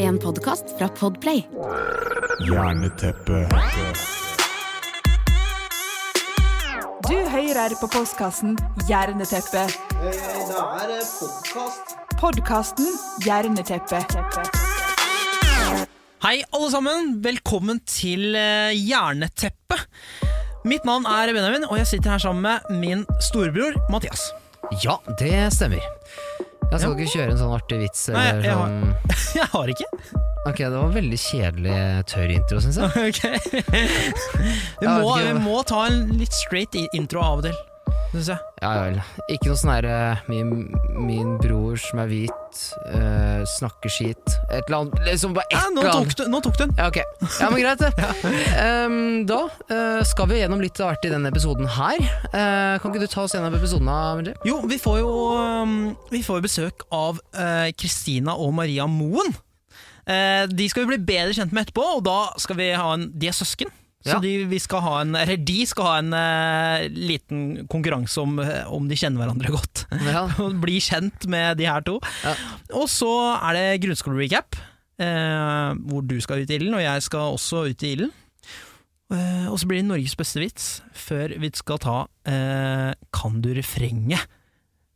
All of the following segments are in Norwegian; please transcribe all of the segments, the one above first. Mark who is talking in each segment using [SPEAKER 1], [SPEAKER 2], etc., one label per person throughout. [SPEAKER 1] en podkast fra Podplay.
[SPEAKER 2] Jerneteppe.
[SPEAKER 3] Du hører på postkassen Hjerneteppet.
[SPEAKER 4] Det er podkast.
[SPEAKER 3] Podkasten Hjerneteppet.
[SPEAKER 5] Hei alle sammen, velkommen til eh, Jerneteppet. Mitt navn er Benjamin, og jeg sitter her sammen med min storebror Mathias.
[SPEAKER 6] Ja, det stemmer. Jeg skal ikke kjøre en sånn artig vits.
[SPEAKER 5] Nei,
[SPEAKER 6] Eller
[SPEAKER 5] jeg har-
[SPEAKER 6] sånn...
[SPEAKER 5] Jeg har ikke.
[SPEAKER 6] Ok, Det var en veldig kjedelig tørr intro, syns jeg.
[SPEAKER 5] Ok. Vi,
[SPEAKER 6] Jeg
[SPEAKER 5] må,
[SPEAKER 6] vet ikke.
[SPEAKER 5] vi må ta en litt straight i- intro av og til, syns jeg.
[SPEAKER 6] Ja vel. Ikke noe sånn herre min, min bror som er hvit, øh, snakker skit Et eller annet liksom bare et
[SPEAKER 5] Ja, nå,
[SPEAKER 6] eller
[SPEAKER 5] tok
[SPEAKER 6] annet.
[SPEAKER 5] du, nå tok du den.
[SPEAKER 6] Ja, ok. Ja, men greit, det. Ehm, da øh, skal vi gjennom litt artig i denne episoden her. Eh, kan ikke du ta oss gjennom episoden, da, Mildred?
[SPEAKER 5] Jo, vi får jo um, vi får jo besøk av eh, Kristina og Maria Moen. Eh, de skal vi bli bedre kjent med etterpå, og da skal vi ha en De er søsken. Så
[SPEAKER 6] Ja.
[SPEAKER 5] de, vi skal ha en, eller de skal ha en eh, liten konkurranse om, eh, om de kjenner hverandre godt.
[SPEAKER 6] Ja.
[SPEAKER 5] Og Bli kjent med de her to.
[SPEAKER 6] Ja.
[SPEAKER 5] Og så er det grunnskolerecap, eh, hvor du skal ut i ilden, og jeg skal også ut i ilden. Eh, og så blir det Norges beste vits før vi skal ta eh, Kan du refrenget?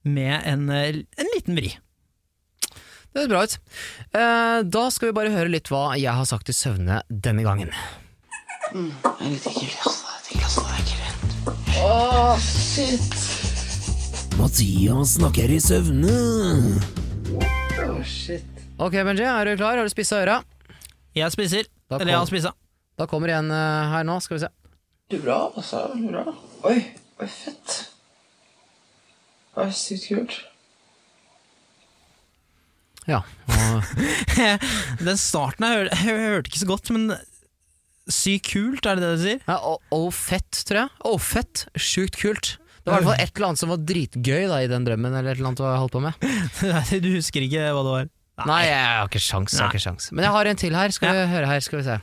[SPEAKER 5] Med en, eh, en liten vri.
[SPEAKER 6] Det høres bra ut. Eh, da skal vi bare høre litt hva jeg har sagt i søvne denne gangen.
[SPEAKER 4] Jeg vet ikke, altså. Jeg vet ikke, altså. Det er ikke rett.
[SPEAKER 7] Mathias snakker i søvne.
[SPEAKER 6] Ok, Benji, er du klar? Har du spissa øra?
[SPEAKER 5] Jeg spiser.
[SPEAKER 6] Da
[SPEAKER 5] Eller jeg
[SPEAKER 6] kom-
[SPEAKER 5] har spisa.
[SPEAKER 6] Da kommer en eh, her nå, skal vi se.
[SPEAKER 4] Veldig bra, altså. Veldig bra. Oi, oi, fett. Det er sykt kult.
[SPEAKER 6] Ja, og,
[SPEAKER 5] Den starten jeg, hør, jeg hørte ikke så godt, men sykt kult, er det det du sier?
[SPEAKER 6] ja, og, og fett, tror jeg. Å, fett. Sjukt kult. Det var i hvert fall et eller annet som var dritgøy da, i den drømmen, eller et eller annet jeg holdt på med.
[SPEAKER 5] Nei, du husker ikke hva det var?
[SPEAKER 6] Nei, jeg har ikke sjans, jeg har ikke sjans. Men jeg har en til her, skal vi høre her, skal vi se.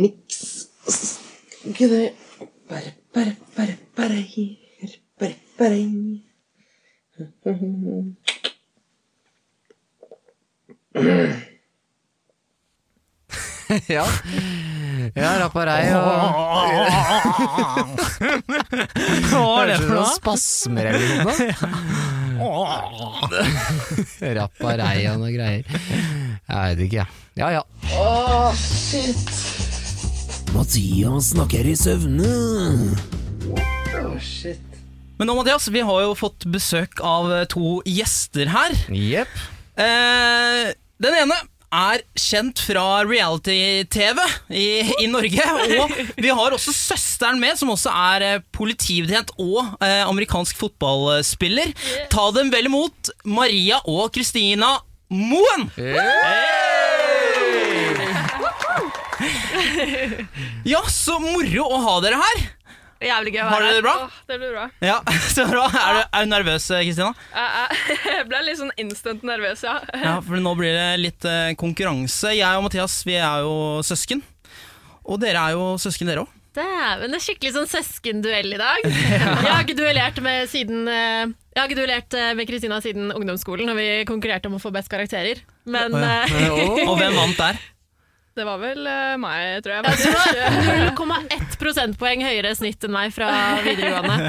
[SPEAKER 4] Niks. Ikke det. Bare, bare, bare, bare her. Bare, bare her.
[SPEAKER 6] ja. Ja, Rapparei og
[SPEAKER 5] Hva var det for
[SPEAKER 6] Kanskje noen
[SPEAKER 5] noe?
[SPEAKER 6] spasmer eller noe. Rapparei og noe greier. Jeg vet ikke, jeg. Ja ja.
[SPEAKER 7] Mathias snakker i søvne.
[SPEAKER 5] Men nå, Mathias, vi har jo fått besøk av eh, to gjester her.
[SPEAKER 6] Jepp.
[SPEAKER 5] Eh, den ene er kjent fra reality-TV i, i Norge. Og vi har også søsteren med, som også er eh, politibetjent og eh, amerikansk fotballspiller. Ta dem vel imot Maria og Kristina Moen! Ja, så moro å ha dere her!
[SPEAKER 8] Jævlig gøy å
[SPEAKER 5] Har
[SPEAKER 8] være
[SPEAKER 5] dere det bra?
[SPEAKER 8] Åh, det blir bra.
[SPEAKER 5] Ja, så bra. Er du, er du nervøs, Kristina?
[SPEAKER 8] Jeg, jeg, jeg ble litt sånn instant nervøs, ja.
[SPEAKER 5] Ja, for nå blir det litt eh, konkurranse. Jeg og Mathias vi er jo søsken. Og dere er jo søsken, dere òg.
[SPEAKER 9] Dæven, det er skikkelig sånn søskenduell i dag. Jeg har ikke duellert med siden eh, Jeg har ikke duellert eh, med Kristina siden ungdomsskolen, når vi konkurrerte om å få best karakterer. Men eh,
[SPEAKER 5] Og hvem vant der?
[SPEAKER 8] Det var vel eh, meg, tror jeg.
[SPEAKER 9] du
[SPEAKER 8] faktisk.
[SPEAKER 9] var 0,1 prosentpoeng høyere snitt enn meg fra videregående.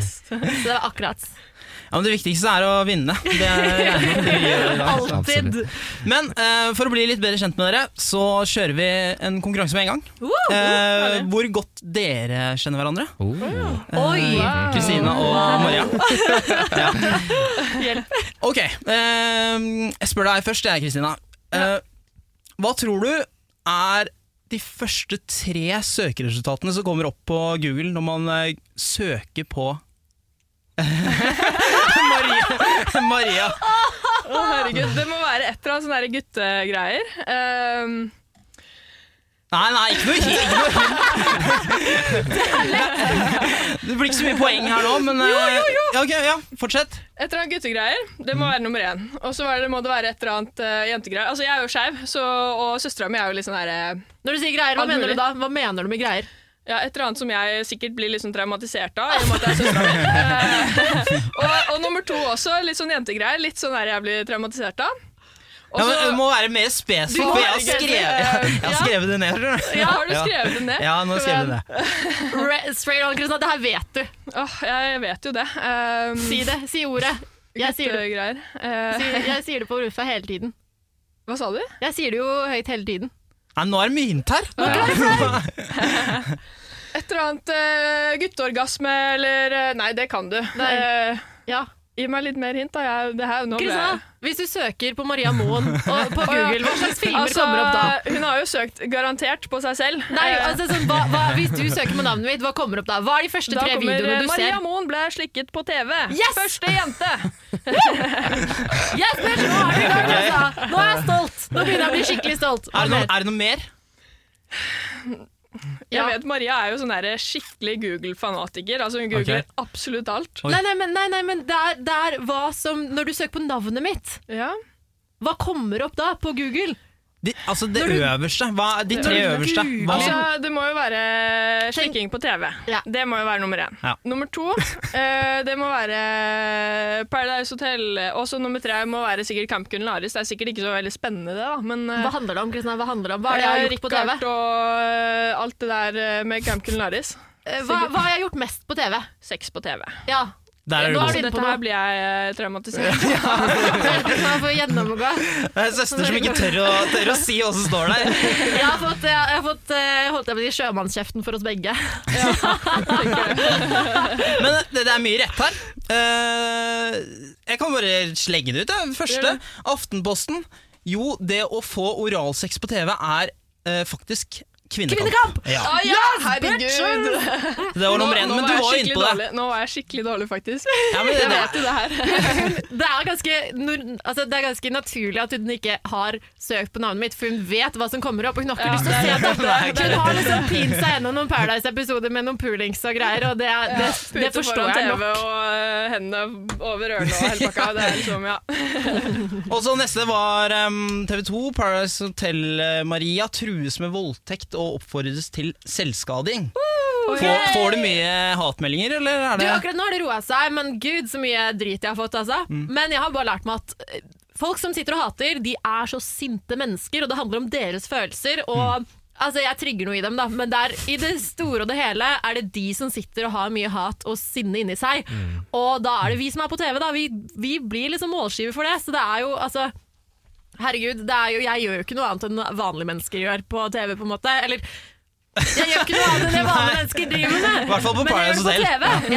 [SPEAKER 9] Så det var akkurat.
[SPEAKER 5] Ja, men Det viktigste er å vinne. Det er
[SPEAKER 9] Alltid.
[SPEAKER 6] Absolutt.
[SPEAKER 5] men eh, for å bli litt bedre kjent med dere, så kjører vi en konkurranse med en gang.
[SPEAKER 9] Uh,
[SPEAKER 5] Eh, hvor godt dere kjenner hverandre.
[SPEAKER 6] Oh.
[SPEAKER 9] Oi!
[SPEAKER 5] Kristina og Maria.
[SPEAKER 9] Hjelp.
[SPEAKER 5] Ok, eh, jeg spør deg først, jeg, Kristina. Eh, hva tror du er de første tre søkeresultatene som kommer opp på Google når man eh, søker på Maria. Maria.
[SPEAKER 8] Å, herregud. Det må være et eller annet sånne der guttegreier. Ehm,
[SPEAKER 5] Nei, nei, ikke noe hint. Ikke noe hint. Det blir ikke så mye poeng her nå, men Jo, jo, jo! Ja, ok, ja, fortsett.
[SPEAKER 8] et eller annet guttegreier, det må være nummer én. Og så var det- må det være et eller annet eh, jentegreier. Altså, jeg er jo skeiv, så- og søstera mi er jo litt sånn herre
[SPEAKER 9] Når du sier greier, hva
[SPEAKER 8] Alt
[SPEAKER 9] mener du
[SPEAKER 8] mulig.
[SPEAKER 9] da? Hva mener du med greier?
[SPEAKER 8] Ja, Et eller annet som jeg sikkert blir litt sånn traumatisert av, i og med at det er søstera mi. Eh, og, og nummer to også, litt sånn jentegreier. Litt sånn der jeg blir traumatisert av. Og
[SPEAKER 5] Ja, men
[SPEAKER 8] så-
[SPEAKER 9] eh,
[SPEAKER 5] Du må være mer spesifikk,
[SPEAKER 8] Du må
[SPEAKER 5] for jeg har
[SPEAKER 8] være spesifikk,
[SPEAKER 5] skrevet, jeg, har
[SPEAKER 8] ja.
[SPEAKER 5] skrevet det ned. skjønner du?
[SPEAKER 8] ja, har du skrevet den ned?
[SPEAKER 5] Ja, nå skrev jeg det ned.
[SPEAKER 9] Re straight on, Kristina, det her vet du.
[SPEAKER 8] Åh, jeg vet jo det. Um,
[SPEAKER 9] Si det. Si ordet. Jeg sier det,
[SPEAKER 8] Greier. Eh,
[SPEAKER 9] si, jeg sier det på Rufa hele tiden.
[SPEAKER 8] hva sa du?
[SPEAKER 9] Jeg sier det jo høyt hele tiden.
[SPEAKER 5] Nei, nå er det mynt her.
[SPEAKER 8] Et eller annet eh, gutteorgasme eller eh, Nei, det kan du.
[SPEAKER 9] Nei.
[SPEAKER 8] Eh,
[SPEAKER 9] Ja.
[SPEAKER 8] gi meg litt mer hint, da. Jeg, det her, nå ble
[SPEAKER 9] Kristina,
[SPEAKER 8] jeg-
[SPEAKER 9] hvis du søker på Maria Moen og på Google, hva slags filmer
[SPEAKER 8] Altså,
[SPEAKER 9] kommer opp da?
[SPEAKER 8] hun har jo søkt garantert på seg selv.
[SPEAKER 9] Nei,
[SPEAKER 8] Eh,
[SPEAKER 9] altså sånn, hva, hva, Hvis du søker på navnet mitt, hva kommer opp da? Hva er de første
[SPEAKER 8] da
[SPEAKER 9] tre
[SPEAKER 8] kommer eh,
[SPEAKER 9] videoene du
[SPEAKER 8] Maria
[SPEAKER 9] ser?
[SPEAKER 8] Moen ble slikket på TV.
[SPEAKER 9] Yes!
[SPEAKER 8] Første jente!
[SPEAKER 9] Yes, bitch, nå er vi i gang, altså! Nå er jeg stolt! Nå begynner jeg å bli skikkelig stolt.
[SPEAKER 5] Er det, noe, er det noe mer?
[SPEAKER 9] Ja.
[SPEAKER 8] Jeg vet Maria er jo sånn der skikkelig Google-fanatiker. Altså Hun googler
[SPEAKER 5] Ok.
[SPEAKER 8] absolutt alt.
[SPEAKER 5] Oi.
[SPEAKER 9] Nei, nei, men, nei, nei, men det er, det er hva som Når du søker på navnet mitt,
[SPEAKER 8] Ja.
[SPEAKER 9] hva kommer opp da på Google?
[SPEAKER 5] De, altså det
[SPEAKER 9] Når du-
[SPEAKER 5] øverste. Hva, er de tre
[SPEAKER 9] Når du
[SPEAKER 5] øverste. Hva,
[SPEAKER 8] Altså, det må jo være slikking på TV.
[SPEAKER 9] Ja.
[SPEAKER 8] Det må jo være nummer én.
[SPEAKER 5] Ja.
[SPEAKER 8] Nummer to, eh, det må være Paradise Hotel. Og så nummer tre må være sikkert Camp Culinaris. Det er sikkert ikke så veldig spennende, det, da. Men eh,
[SPEAKER 9] Hva handler det om? Kristina? Hva handler det om? Hva er det jeg har gjort på
[SPEAKER 8] Richard
[SPEAKER 9] TV?
[SPEAKER 8] og eh, alt det der eh, med Camp Culinaris.
[SPEAKER 9] Eh, Hva, hva har jeg gjort mest på TV?
[SPEAKER 8] Sex på TV.
[SPEAKER 9] Ja.
[SPEAKER 5] der er du
[SPEAKER 9] Nå er
[SPEAKER 5] god.
[SPEAKER 9] det-
[SPEAKER 8] Så
[SPEAKER 9] inne på
[SPEAKER 8] dette
[SPEAKER 9] noe?
[SPEAKER 8] her blir jeg eh, traumatisert.
[SPEAKER 9] Jeg får gjennomgå.
[SPEAKER 5] Det er en søster som ikke tør å, tør å si hva som står der.
[SPEAKER 9] Jeg har fått, jeg har fått eh, holdt jeg på å si, sjømannskjeften for oss begge.
[SPEAKER 5] Men det, det er mye rett her. Eh, jeg kan bare slenge det ut. jeg. Første,
[SPEAKER 8] Gjør det.
[SPEAKER 5] Aftenposten. Jo, det å få oralsex på TV er eh, faktisk kvinnekamp.
[SPEAKER 9] Kvinnekamp!
[SPEAKER 5] Ja,
[SPEAKER 8] Å ja, herregud!
[SPEAKER 5] det var nummer én, men du var jo inne på det.
[SPEAKER 8] Dårlig. Nå var jeg skikkelig dårlig, faktisk.
[SPEAKER 5] Ja, men det,
[SPEAKER 8] Jeg vet jo det her.
[SPEAKER 9] Det er, ganske, nor- altså, det er ganske naturlig at hun ikke har søkt på navnet mitt, for hun vet hva som kommer opp, og hun har ikke lyst til å se det.
[SPEAKER 5] Nei,
[SPEAKER 9] Hun har liksom pint seg gjennom noen Paradise-episoder med noen poolings og greier, og det, er- det, det
[SPEAKER 8] Puter
[SPEAKER 9] forstår
[SPEAKER 8] foran
[SPEAKER 9] jeg
[SPEAKER 8] TV
[SPEAKER 9] nok.
[SPEAKER 8] Og eh, hendene over ørene og hele pakka. Det er liksom, ja.
[SPEAKER 5] Og så neste var TV 2. Paradise Hotel eh, Maria trues med voldtekt og oppfordres til selvskading. Får, får du mye hatmeldinger, eller er
[SPEAKER 9] Du,
[SPEAKER 5] det
[SPEAKER 9] akkurat nå har det roa seg, men gud så mye drit jeg har fått, altså.
[SPEAKER 5] Mm.
[SPEAKER 9] Men jeg har bare lært meg at eh, folk som sitter og hater, de er så sinte mennesker, og det handler om deres følelser. og...
[SPEAKER 5] Mm.
[SPEAKER 9] Altså, Jeg trigger noe i dem, da, men det er- i det store og det hele er det de som sitter og har mye hat og sinne inni seg.
[SPEAKER 5] Mm.
[SPEAKER 9] Og da er det vi som er på TV, da. Vi, vi blir liksom målskive for det. Så det er jo altså Herregud, det er jo, jeg gjør jo ikke noe annet enn vanlige mennesker gjør på TV, på en måte. Eller jeg gjør ikke noe annet enn det vanlige mennesker driver med.
[SPEAKER 5] I hvert fall på
[SPEAKER 9] men jeg gjør
[SPEAKER 5] Paradise
[SPEAKER 9] det på TV.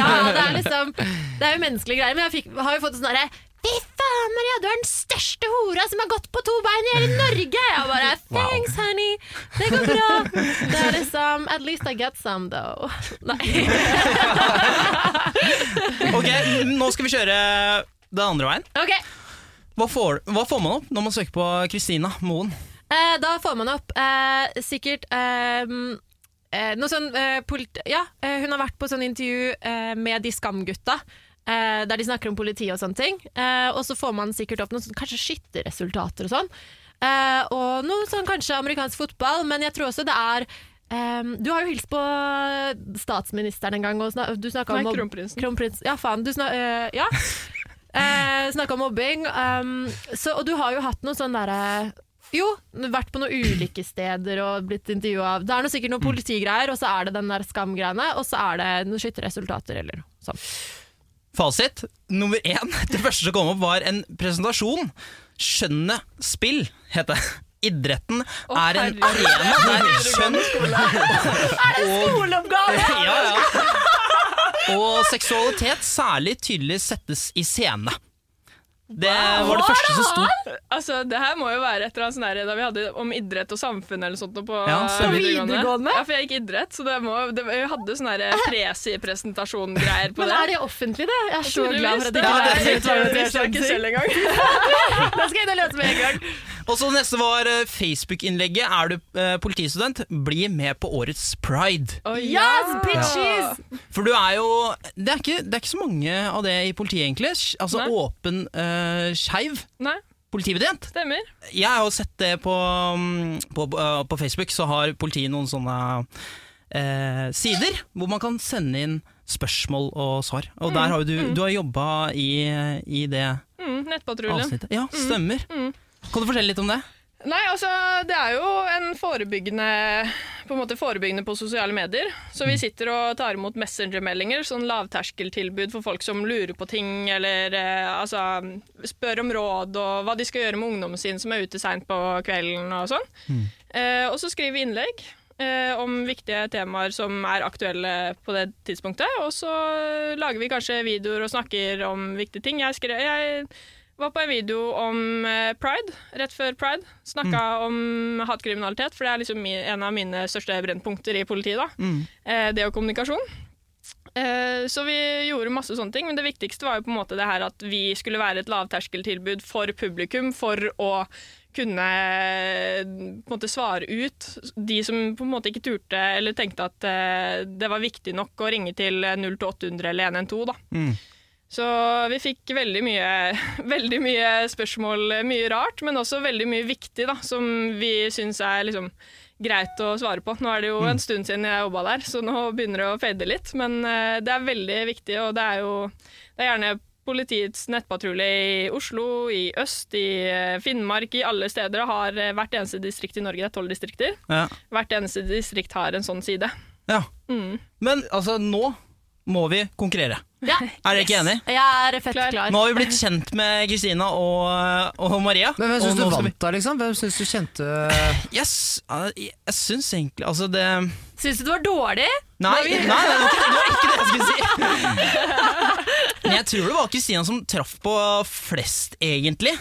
[SPEAKER 9] Ja, det er liksom Det er jo menneskelige greier, men jeg fikk, har jo fått sånn herre Fy faen, Maria, du er den største hora som har gått på to bein i hele Norge! Jeg bare Thanks, honey. Det går bra. Det er liksom At least I get some, though. Nei.
[SPEAKER 5] Ok, nå skal vi kjøre den andre veien.
[SPEAKER 9] Ok,
[SPEAKER 5] Hva får, hva får man opp når man søker på Kristina Moen?
[SPEAKER 9] eh, Da får man opp eh, sikkert eh, mm, eh, noe sånn eh, polit Ja, eh, hun har vært på sånn intervju eh, med de skamgutta. Eh, der de snakker om politiet og sånne ting. Eh, og så får man sikkert opp noen sånn, kanskje skytterresultater og sånn. Eh, og noe sånn kanskje amerikansk fotball, men jeg tror også det er eh, du har jo hilst på statsministeren en gang. Og snak, du snakket
[SPEAKER 8] Nei,
[SPEAKER 9] om å-
[SPEAKER 8] kronprinsen.
[SPEAKER 9] Kronprins, ja faen, du snak, eh, ja. Eh, Snakka om mobbing. ehm, så, og du har jo hatt noe sånn derre Jo, vært på noen ulykkessteder og blitt intervjua av Det er noe sikkert noen politigreier, og så er det den der skamgreiene, og så er det noen skytterresultater eller noe sånt.
[SPEAKER 5] Fasit nummer én. Det første som kom opp, var en presentasjon. Skjønnet spill, het det. Idretten er en arena der skjønn og
[SPEAKER 9] Skoleoppgave!
[SPEAKER 5] ja, ja. Og seksualitet særlig tydelig settes i scene. Det var det første som sto.
[SPEAKER 8] Altså, det her må jo være et eller annet sånn der da vi hadde om idrett og samfunn eller sånt nå på
[SPEAKER 5] Ja,
[SPEAKER 8] eh,
[SPEAKER 5] stemmer.
[SPEAKER 9] Videregående?
[SPEAKER 8] Ja, for jeg gikk idrett, så det må, det, jeg hadde sånne der presi-presentasjon-greier på
[SPEAKER 9] Men
[SPEAKER 8] det.
[SPEAKER 9] er det offentlig, det? Jeg er så
[SPEAKER 8] Tydeligvis,
[SPEAKER 9] glad for at
[SPEAKER 8] det
[SPEAKER 9] det ikke
[SPEAKER 8] var-
[SPEAKER 9] er
[SPEAKER 8] det visste jeg ikke selv
[SPEAKER 9] engang. Da skal jeg inn og løse med en gang.
[SPEAKER 5] Og så neste var eh, Facebook-innlegget. Er du eh, politistudent, bli med på årets pride.
[SPEAKER 8] Å, ja.
[SPEAKER 9] Yes, bitches!
[SPEAKER 5] For du er jo Det er ikke, det er ikke så mange av det i politiet, egentlig. Altså
[SPEAKER 8] Nei.
[SPEAKER 5] åpen, eh, skeiv
[SPEAKER 8] Nei,
[SPEAKER 5] politibetjent.
[SPEAKER 8] stemmer.
[SPEAKER 5] eh, Jeg har jo sett det på, mm, på, på Facebook, så har politiet noen sånne eh, sider hvor man kan sende inn spørsmål og svar. Og der har jo du, du har jobba i, i det
[SPEAKER 8] Mm, Nettpatruljen.
[SPEAKER 5] avsnittet. Ja, stemmer. Kan du fortelle litt om det?
[SPEAKER 8] Nei, altså, det er jo en forebyggende på, en måte forebyggende på sosiale medier. Så vi sitter og tar imot messengermeldinger, sånn lavterskeltilbud for folk som lurer på ting, eller eh, altså, spør om råd og hva de skal gjøre med ungdommen sin som er ute seint på kvelden og sånn. Eh, og så skriver vi innlegg eh, om viktige temaer som er aktuelle på det tidspunktet. Og så lager vi kanskje videoer og snakker om viktige ting. Jeg, skrev, jeg var på en video om eh, pride, rett før pride. Snakka om hatkriminalitet, for det er liksom mi- en av mine største brennpunkter i politiet. da. Eh, det og kommunikasjon. Eh, Så vi gjorde masse sånne ting, men det viktigste var jo på en måte det her at vi skulle være et lavterskeltilbud for publikum for å kunne eh, på en måte svare ut de som på en måte ikke turte eller tenkte at eh, det var viktig nok å ringe til 0800 eller 112. da. Så vi fikk veldig mye, veldig mye spørsmål, mye rart, men også veldig mye viktig da, som vi syns er liksom greit å svare på. Nå er det jo en stund siden jeg jobba der, så nå begynner det å fade litt. Men eh, det er veldig viktig, og det er jo det er gjerne politiets nettpatrulje i Oslo, i øst, i eh, Finnmark, i alle steder. og Har eh, hvert eneste distrikt i Norge, det er tolv distrikter,
[SPEAKER 5] Ja.
[SPEAKER 8] hvert eneste distrikt har en sånn side.
[SPEAKER 5] ja. Men altså, nå må vi konkurrere.
[SPEAKER 9] Ja.
[SPEAKER 5] Er dere ikke enig?
[SPEAKER 9] Jeg er fett
[SPEAKER 8] Klar.
[SPEAKER 9] klar.
[SPEAKER 5] Nå har vi blitt kjent med Kristina og, og Maria.
[SPEAKER 6] Men hvem
[SPEAKER 5] og
[SPEAKER 6] syns du
[SPEAKER 5] nå skal vi-
[SPEAKER 6] vant da, liksom? Hvem syns du kjente
[SPEAKER 5] Yes, eh, jeg syns egentlig Altså, det
[SPEAKER 9] Syns du det var dårlig?
[SPEAKER 5] Nei, nei, nei, det var ikke det, var ikke det jeg skulle si. Men jeg tror det var Kristina som traff på flest, egentlig.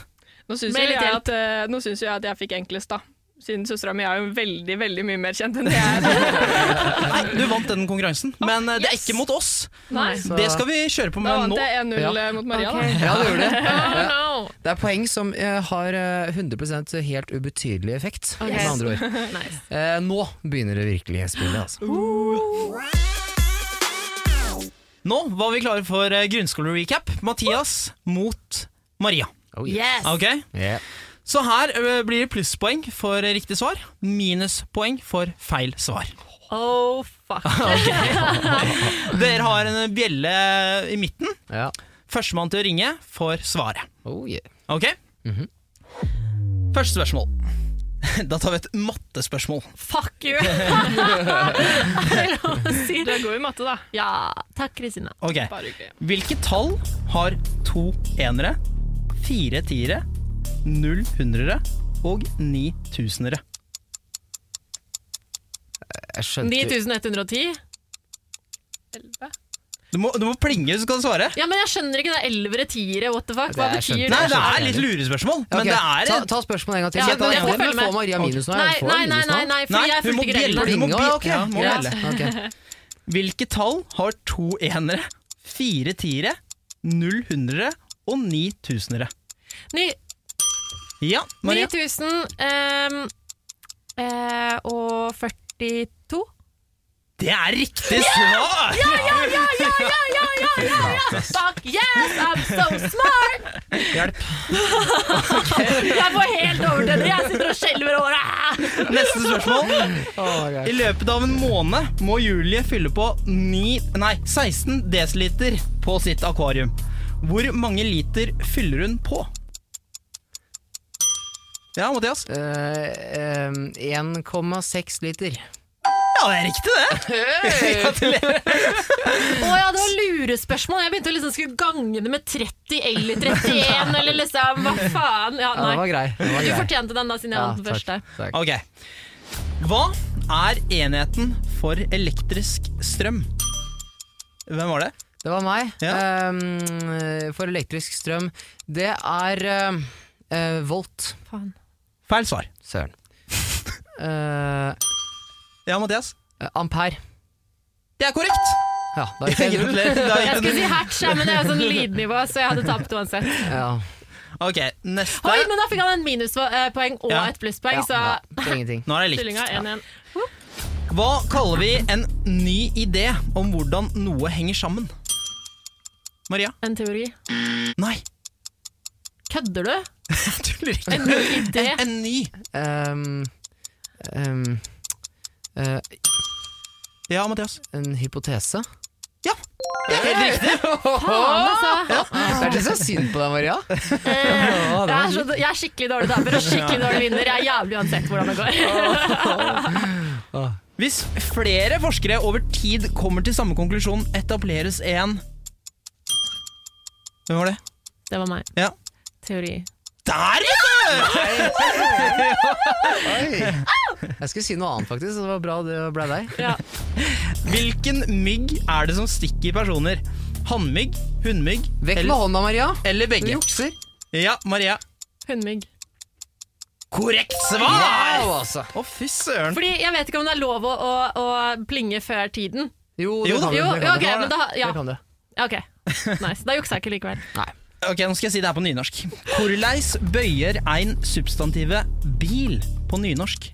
[SPEAKER 8] Nå syns
[SPEAKER 9] Med
[SPEAKER 8] jo
[SPEAKER 9] litt
[SPEAKER 8] jeg,
[SPEAKER 9] hjelp.
[SPEAKER 8] at, eh, nå syns jo jeg at jeg fikk enklest, da. Siden søstera mi er jo veldig veldig mye mer kjent enn det jeg er.
[SPEAKER 5] Nei, du vant den konkurransen, men eh, det er
[SPEAKER 8] yes.
[SPEAKER 5] ikke mot oss.
[SPEAKER 9] Nei.
[SPEAKER 6] Så-
[SPEAKER 5] Det skal vi kjøre på
[SPEAKER 8] Da
[SPEAKER 5] med nå.
[SPEAKER 8] vant jeg 1-0
[SPEAKER 6] Ja.
[SPEAKER 8] eh, mot Maria.
[SPEAKER 9] Ok.
[SPEAKER 8] da.
[SPEAKER 6] Ja, det gjorde det.
[SPEAKER 9] Oh,
[SPEAKER 6] Ja.
[SPEAKER 9] no.
[SPEAKER 6] Det er poeng som eh, har eh, 100 helt ubetydelig effekt,
[SPEAKER 9] Ok.
[SPEAKER 6] med andre ord.
[SPEAKER 9] Nice.
[SPEAKER 6] Eh, nå begynner det virkelige spillet, altså.
[SPEAKER 5] Nå var vi klare for eh, grunnskolerecap. Mathias mot Maria.
[SPEAKER 6] Oh,
[SPEAKER 9] Yes.
[SPEAKER 5] Ok?
[SPEAKER 6] Yeah.
[SPEAKER 5] Så her eh, blir det plusspoeng for eh, riktig svar, minuspoeng for feil svar.
[SPEAKER 9] Oh, fuck.
[SPEAKER 5] Dere har en bjelle i midten.
[SPEAKER 6] Ja.
[SPEAKER 5] Førstemann til å ringe får svaret.
[SPEAKER 6] Oh, yeah.
[SPEAKER 5] Ok?
[SPEAKER 6] Mhm.
[SPEAKER 5] Første spørsmål. Da tar vi et mattespørsmål.
[SPEAKER 9] Fuck you. Er det lov å si
[SPEAKER 8] Du
[SPEAKER 9] det?
[SPEAKER 8] er god i matte, da.
[SPEAKER 9] Ja. Takk, Kristina.
[SPEAKER 5] Ok,
[SPEAKER 8] Bare hyggelig.
[SPEAKER 5] Hvilke tall har to enere, fire tiere, null hundrere og ni tusenere?
[SPEAKER 6] Jeg skjønte
[SPEAKER 9] 9110.
[SPEAKER 8] Elleve.
[SPEAKER 5] Du må, du må plinge hvis du skal svare.
[SPEAKER 9] Ja, men jeg skjønner ikke det ellevere, tiere, what the fuck. Hva
[SPEAKER 6] Det er skjønt.
[SPEAKER 9] betyr
[SPEAKER 5] Nei,
[SPEAKER 9] det?
[SPEAKER 5] det er litt lurespørsmål, men
[SPEAKER 6] Ok,
[SPEAKER 5] det er
[SPEAKER 6] ta, ta spørsmålet en gang til.
[SPEAKER 9] Ja,
[SPEAKER 6] Skal jeg ta
[SPEAKER 9] men
[SPEAKER 6] den
[SPEAKER 9] jeg
[SPEAKER 6] igjen,
[SPEAKER 9] får følge
[SPEAKER 6] eller
[SPEAKER 9] med.
[SPEAKER 6] får Maria minus nå?
[SPEAKER 9] Nei,
[SPEAKER 6] Eller får
[SPEAKER 9] nei,
[SPEAKER 6] jeg
[SPEAKER 9] nei,
[SPEAKER 6] minus nå?
[SPEAKER 9] nei, nei fordi jeg
[SPEAKER 5] hun må
[SPEAKER 9] fulgte ikke reglene.
[SPEAKER 5] bjelle. Hun må
[SPEAKER 6] Plinga,
[SPEAKER 5] bje-
[SPEAKER 6] ok.
[SPEAKER 5] ja, må
[SPEAKER 6] Ja.
[SPEAKER 5] bjelle.
[SPEAKER 6] Ok.
[SPEAKER 5] Hvilke tall har to enere, fire tiere, null hundrere og ni tusenere?
[SPEAKER 9] Ny-
[SPEAKER 5] Ja, Maria.
[SPEAKER 9] 9000 ehm, eh, og 42.
[SPEAKER 5] Det er riktig svar!
[SPEAKER 9] Fuck yes, I'm so smart!
[SPEAKER 5] Hjelp.
[SPEAKER 9] Jeg får helt overtenner, jeg sitter og skjelver året.
[SPEAKER 5] Neste spørsmål.
[SPEAKER 6] Å, Eh, greit.
[SPEAKER 5] I løpet av en måned må Julie fylle på ni- nei, 16 dl på sitt akvarium. Hvor mange liter fyller hun på? Ja, Mathias?
[SPEAKER 6] Eh, em, 1,6 liter.
[SPEAKER 5] Ja, det er riktig, det! Gratulerer.
[SPEAKER 9] Å ja, det var lurespørsmål. Jeg begynte å liksom skulle gange det med 30 eller 31, eller liksom hva faen. Ja,
[SPEAKER 6] Ja, den var
[SPEAKER 9] nei.
[SPEAKER 6] grei. Den var
[SPEAKER 9] Du
[SPEAKER 6] grei.
[SPEAKER 9] fortjente den da, siden jeg
[SPEAKER 6] Ja,
[SPEAKER 9] vant den første.
[SPEAKER 6] takk, takk.
[SPEAKER 5] Ok. Hva er enheten for elektrisk strøm? Hvem var det?
[SPEAKER 6] Det var meg.
[SPEAKER 5] Ja.
[SPEAKER 6] Em, eh, for elektrisk strøm. Det er em, eh, volt.
[SPEAKER 9] Faen.
[SPEAKER 5] Feil svar.
[SPEAKER 6] Søren. Eh,
[SPEAKER 5] Ja, Mathias?
[SPEAKER 6] ampere.
[SPEAKER 5] Det er korrekt!
[SPEAKER 6] Ja, da gikk jeg videre.
[SPEAKER 5] Gratulerer. Da
[SPEAKER 9] Jeg
[SPEAKER 5] gikk
[SPEAKER 9] skulle
[SPEAKER 5] den.
[SPEAKER 9] si hertz, ja, men det er jo sånn lydnivå, så jeg hadde tapt uansett.
[SPEAKER 6] Ja.
[SPEAKER 5] Ok, neste.
[SPEAKER 9] Oi, men da fikk han en minuspoeng og
[SPEAKER 5] Ja.
[SPEAKER 9] et plusspoeng,
[SPEAKER 6] Ja,
[SPEAKER 9] så
[SPEAKER 6] ja, det er ingenting.
[SPEAKER 5] Nå er det likt.
[SPEAKER 8] Stillinga 1-1.
[SPEAKER 5] Hva kaller vi en ny idé om hvordan noe henger sammen? Maria?
[SPEAKER 9] en teori.
[SPEAKER 5] Nei,
[SPEAKER 9] Kødder du?
[SPEAKER 5] jeg tuller ikke.
[SPEAKER 9] En ny idé?
[SPEAKER 5] En ny.
[SPEAKER 6] Ehm, Em, em, eh,
[SPEAKER 5] Ja, Mathias.
[SPEAKER 6] En hypotese?
[SPEAKER 5] Ja.
[SPEAKER 6] Helt riktig!
[SPEAKER 8] Faen, altså.
[SPEAKER 6] Det er det som er synd på deg, Maria.
[SPEAKER 8] Jeg er, så, jeg er skikkelig dårlig taper og skikkelig dårlig vinner. Jeg er jævlig uansett hvordan det går.
[SPEAKER 5] Hvis flere forskere over tid kommer til samme konklusjon, etableres en Hvem var det?
[SPEAKER 8] Det var meg.
[SPEAKER 5] Ja.
[SPEAKER 8] Teori.
[SPEAKER 5] Der, vet du!
[SPEAKER 6] Jeg skulle si noe annet, faktisk. så Det var bra det ble deg.
[SPEAKER 5] Hvilken mygg er det som stikker personer? Hannmygg, hunnmygg
[SPEAKER 6] Vekk med
[SPEAKER 5] eller,
[SPEAKER 6] hånda, Maria.
[SPEAKER 5] eller
[SPEAKER 6] Du
[SPEAKER 5] begge?
[SPEAKER 6] jukser.
[SPEAKER 5] Ja, Maria.
[SPEAKER 8] Hundmygg.
[SPEAKER 5] Korrekt svar!
[SPEAKER 6] Wow, altså.
[SPEAKER 5] Å, fy søren.
[SPEAKER 8] Fordi jeg vet ikke om det er lov å, å, å plinge før tiden.
[SPEAKER 6] Jo, det
[SPEAKER 5] Jo,
[SPEAKER 6] kan du.
[SPEAKER 8] Jo,
[SPEAKER 6] det kan
[SPEAKER 8] ok,
[SPEAKER 6] du.
[SPEAKER 8] men da Ja,
[SPEAKER 6] Det kan du.
[SPEAKER 8] ok. Nice. Da juksa jeg ikke likevel.
[SPEAKER 5] Ok, Nå skal jeg si det her på nynorsk. Korleis bøyer ein substantivet bil på nynorsk?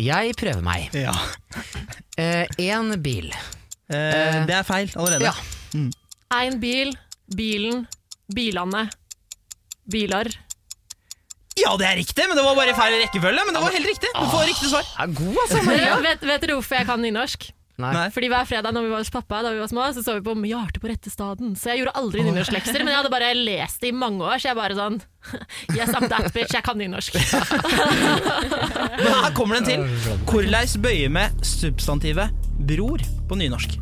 [SPEAKER 6] Jeg prøver meg.
[SPEAKER 5] Ja.
[SPEAKER 6] Én bil.
[SPEAKER 5] Eh, det er feil allerede.
[SPEAKER 6] Ja.
[SPEAKER 8] Én bil, bilen, bilene, bilar.
[SPEAKER 5] Ja, det er riktig, men det var bare i feil rekkefølge. Men det var helt riktig. Du får riktig svar.
[SPEAKER 6] Er god, altså.
[SPEAKER 8] Dere, vet, vet dere hvorfor jeg kan nynorsk?
[SPEAKER 5] Nei.
[SPEAKER 8] Fordi Hver fredag når vi var hos pappa, da vi var små, så så vi på Med hjertet på rette staden. Så jeg gjorde aldri nynorsklekser, men jeg hadde bare lest det i mange år, så jeg bare sånn Yes, I'm that bitch, jeg kan nynorsk.
[SPEAKER 5] Men her kommer den til. Korleis bøyer med substantivet bror på nynorsk?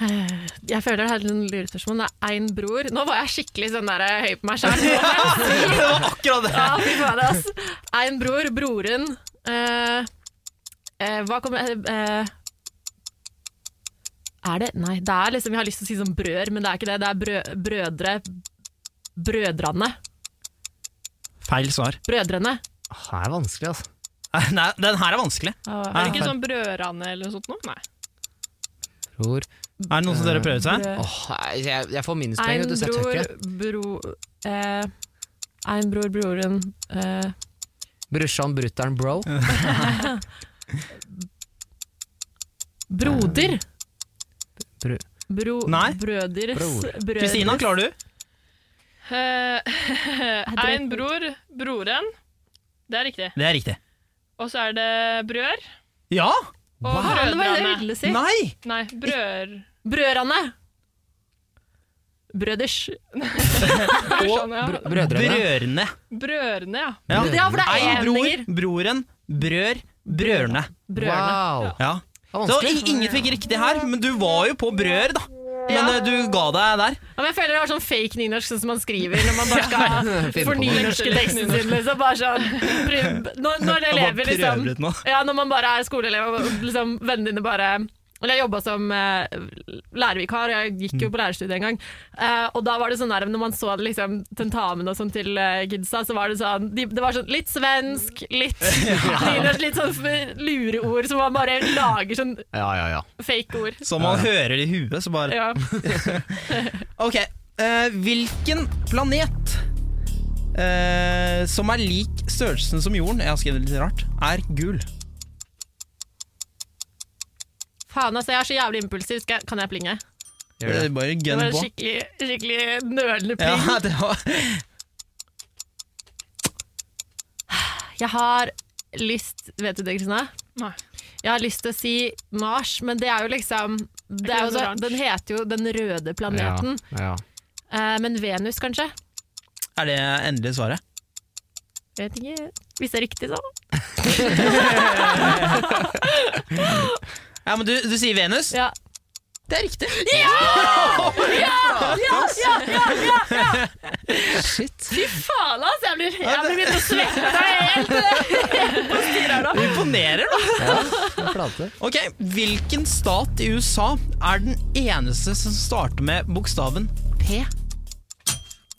[SPEAKER 8] Jeg føler det er et lurespørsmål. Det er én bror. Nå var jeg skikkelig sånn der høy på meg sjøl.
[SPEAKER 5] Det var akkurat det.
[SPEAKER 8] Ja, fy faen, ass. Én bror, broren eh, eh, Hva kommer eh, Er det Nei, det er liksom Jeg har lyst til å si sånn brør, men det er ikke det. Det er brø, brødre Brødrene.
[SPEAKER 5] Feil svar. Eh,
[SPEAKER 8] Brødrene.
[SPEAKER 6] Det er vanskelig, altså.
[SPEAKER 5] Nei, den her er vanskelig.
[SPEAKER 9] Er det ikke sånn brødrene eller noe sånt noe? Nei.
[SPEAKER 6] Bror.
[SPEAKER 5] Er det noen som dere prøver seg?
[SPEAKER 6] Åh, jeg, jeg får minuspoeng,
[SPEAKER 8] Ein
[SPEAKER 6] vet du, så jeg tør
[SPEAKER 8] bror,
[SPEAKER 6] ikke.
[SPEAKER 8] bro... Eh, Ein bror, broren eh,
[SPEAKER 6] Brorsan, brutter'n, bro.
[SPEAKER 8] Broder!
[SPEAKER 6] Bro.
[SPEAKER 8] Bro,
[SPEAKER 5] Nei.
[SPEAKER 8] Brødres
[SPEAKER 6] Bror.
[SPEAKER 8] brødres-
[SPEAKER 5] Kristina, klarer du?
[SPEAKER 9] Eh,
[SPEAKER 8] dreper-
[SPEAKER 9] en bror, broren. Det er riktig.
[SPEAKER 5] Det er riktig.
[SPEAKER 9] Og så er det brør
[SPEAKER 5] Ja!
[SPEAKER 9] og
[SPEAKER 8] Faen, det var det jeg
[SPEAKER 9] brødrene.
[SPEAKER 8] ville si.
[SPEAKER 5] Nei!
[SPEAKER 9] Nei, brør...
[SPEAKER 8] Brødrene! Brøders.
[SPEAKER 9] Brødrene,
[SPEAKER 6] Br
[SPEAKER 9] ja.
[SPEAKER 6] brødrene.
[SPEAKER 5] Brørene.
[SPEAKER 9] Brødrene, ja.
[SPEAKER 5] Ja.
[SPEAKER 8] Ja, for det er
[SPEAKER 5] Ei bror,
[SPEAKER 8] endinger.
[SPEAKER 5] broren, brør, brørne.
[SPEAKER 8] Brødrene.
[SPEAKER 6] Wow.
[SPEAKER 5] Ja.
[SPEAKER 6] Det var
[SPEAKER 5] Så
[SPEAKER 6] vanskelig.
[SPEAKER 5] i- ingen fikk riktig her, men du var jo på brør, da. Men
[SPEAKER 8] Ja.
[SPEAKER 5] eh, du ga deg der.
[SPEAKER 8] Ja, men jeg føler det var sånn fake nynorsk sånn som man skriver når man bare skal
[SPEAKER 6] finne på
[SPEAKER 8] fornye
[SPEAKER 6] noe.
[SPEAKER 8] norske teksten sin. Liksom, bare sånn, prøv- når, når elever liksom
[SPEAKER 5] prøver ut nå.
[SPEAKER 8] ja, Når man bare er skoleelev og liksom, vennene dine bare eller Jeg jobba som eh, lærervikar, og jeg gikk
[SPEAKER 5] Mm.
[SPEAKER 8] jo på lærerstudiet en gang. Eh, og da var det sånn der, Når man så liksom, tentamen og sånn til eh, kidsa, så var det sånn de, Det var sånn litt svensk, litt nynorsk, litt sånn f- lureord som man bare lager sånn
[SPEAKER 6] Ja, ja, ja.
[SPEAKER 8] fake ord.
[SPEAKER 5] Så man hører det i huet, så bare
[SPEAKER 8] Ja.
[SPEAKER 5] Ok, eh, hvilken planet eh, som er lik størrelsen som jorden, jeg har skrevet litt rart, er gul?
[SPEAKER 8] Faen, altså, jeg er så jævlig impulsiv. Skal jeg, kan jeg plinge?
[SPEAKER 6] Gjør
[SPEAKER 5] Det
[SPEAKER 6] det.
[SPEAKER 5] er bare
[SPEAKER 8] Det
[SPEAKER 5] gønn
[SPEAKER 8] var en
[SPEAKER 5] på.
[SPEAKER 8] skikkelig, skikkelig nølende pling.
[SPEAKER 5] Ja, det var
[SPEAKER 8] Jeg har lyst Vet du det, Kristina?
[SPEAKER 9] Nei.
[SPEAKER 8] Jeg har lyst til å si Mars, men det er jo liksom det er
[SPEAKER 9] den
[SPEAKER 8] jo så,
[SPEAKER 9] oransje?
[SPEAKER 8] Den heter jo Den røde
[SPEAKER 6] Ja,
[SPEAKER 8] planeten.
[SPEAKER 6] ja.
[SPEAKER 8] Eh, men Venus, kanskje?
[SPEAKER 5] Er det endelig svaret?
[SPEAKER 8] Vet ikke. Hvis det er riktig, så.
[SPEAKER 5] Ja, men du, du sier Venus?
[SPEAKER 8] Ja.
[SPEAKER 5] Det er riktig.
[SPEAKER 8] Ja, ja, ja, ja.
[SPEAKER 6] Shit.
[SPEAKER 8] Fy faen, altså! Jeg blir, jeg blir begynt å svette helt.
[SPEAKER 5] Imponerer, da.
[SPEAKER 6] Jeg flate.
[SPEAKER 5] Ok, Hvilken stat i USA er den eneste som starter med bokstaven P?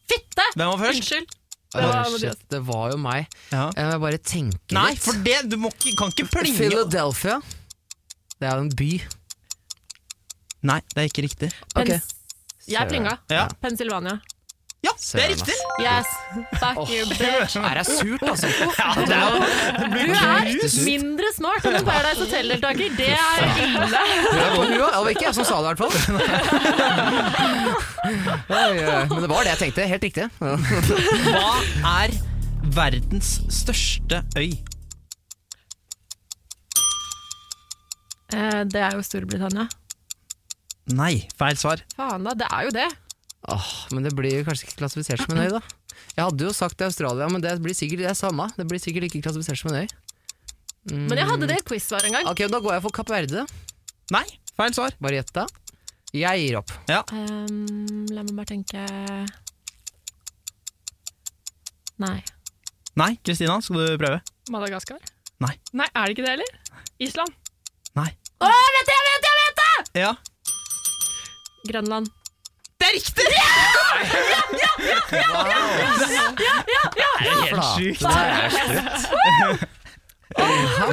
[SPEAKER 8] Fitte!
[SPEAKER 5] Hvem var først?
[SPEAKER 8] Unnskyld. Det var
[SPEAKER 6] Åh, shit. Det var jo meg.
[SPEAKER 5] Ja.
[SPEAKER 6] Jeg må bare tenke
[SPEAKER 5] Nei,
[SPEAKER 6] litt.
[SPEAKER 5] for det, du må ikke, kan ikke plinge
[SPEAKER 6] Philadelphia. Det er jo en by.
[SPEAKER 5] Nei, det er ikke riktig.
[SPEAKER 8] Pens
[SPEAKER 6] Ok.
[SPEAKER 8] Jeg plinga.
[SPEAKER 5] Ja,
[SPEAKER 8] Pennsylvania.
[SPEAKER 5] ja det er
[SPEAKER 6] Søren,
[SPEAKER 5] riktig!
[SPEAKER 8] Yes, fuck you, bitch.
[SPEAKER 6] Her er surt, altså.
[SPEAKER 5] Ja, det er jo
[SPEAKER 8] Du er mindre smart enn en Paradise Hotel-deltaker. Det er ille.
[SPEAKER 6] Det var, det var ikke jeg som sa det, i hvert fall. Oi, oi, Men det var det jeg tenkte. Helt riktig.
[SPEAKER 5] Hva er verdens største øy?
[SPEAKER 9] Eh, det er jo Storbritannia.
[SPEAKER 5] Nei, feil svar.
[SPEAKER 9] Faen da, det er jo det.
[SPEAKER 6] Åh, men det blir kanskje ikke klassifisert som en øy, da. Jeg hadde jo sagt Australia, men det blir sikkert det er samme. Det blir sikkert ikke klassifisert som en øy.
[SPEAKER 9] Men jeg hadde det i quiz-svar en gang.
[SPEAKER 6] Ok, Da går jeg for Kapp Verde.
[SPEAKER 5] Nei, feil svar.
[SPEAKER 6] Bare gjett, da. Jeg gir opp.
[SPEAKER 5] Ja,
[SPEAKER 9] Ehm, la meg bare tenke Nei.
[SPEAKER 5] Nei, Kristina, skal du prøve?
[SPEAKER 8] Madagaskar?
[SPEAKER 5] Nei.
[SPEAKER 8] Nei, er det ikke det heller? Island?
[SPEAKER 5] Nei.
[SPEAKER 9] Å, jeg vet det, jeg vet det, jeg vet det!
[SPEAKER 5] Ja.
[SPEAKER 9] Grønland.
[SPEAKER 5] Det er riktig!
[SPEAKER 6] Det er helt
[SPEAKER 5] sjukt.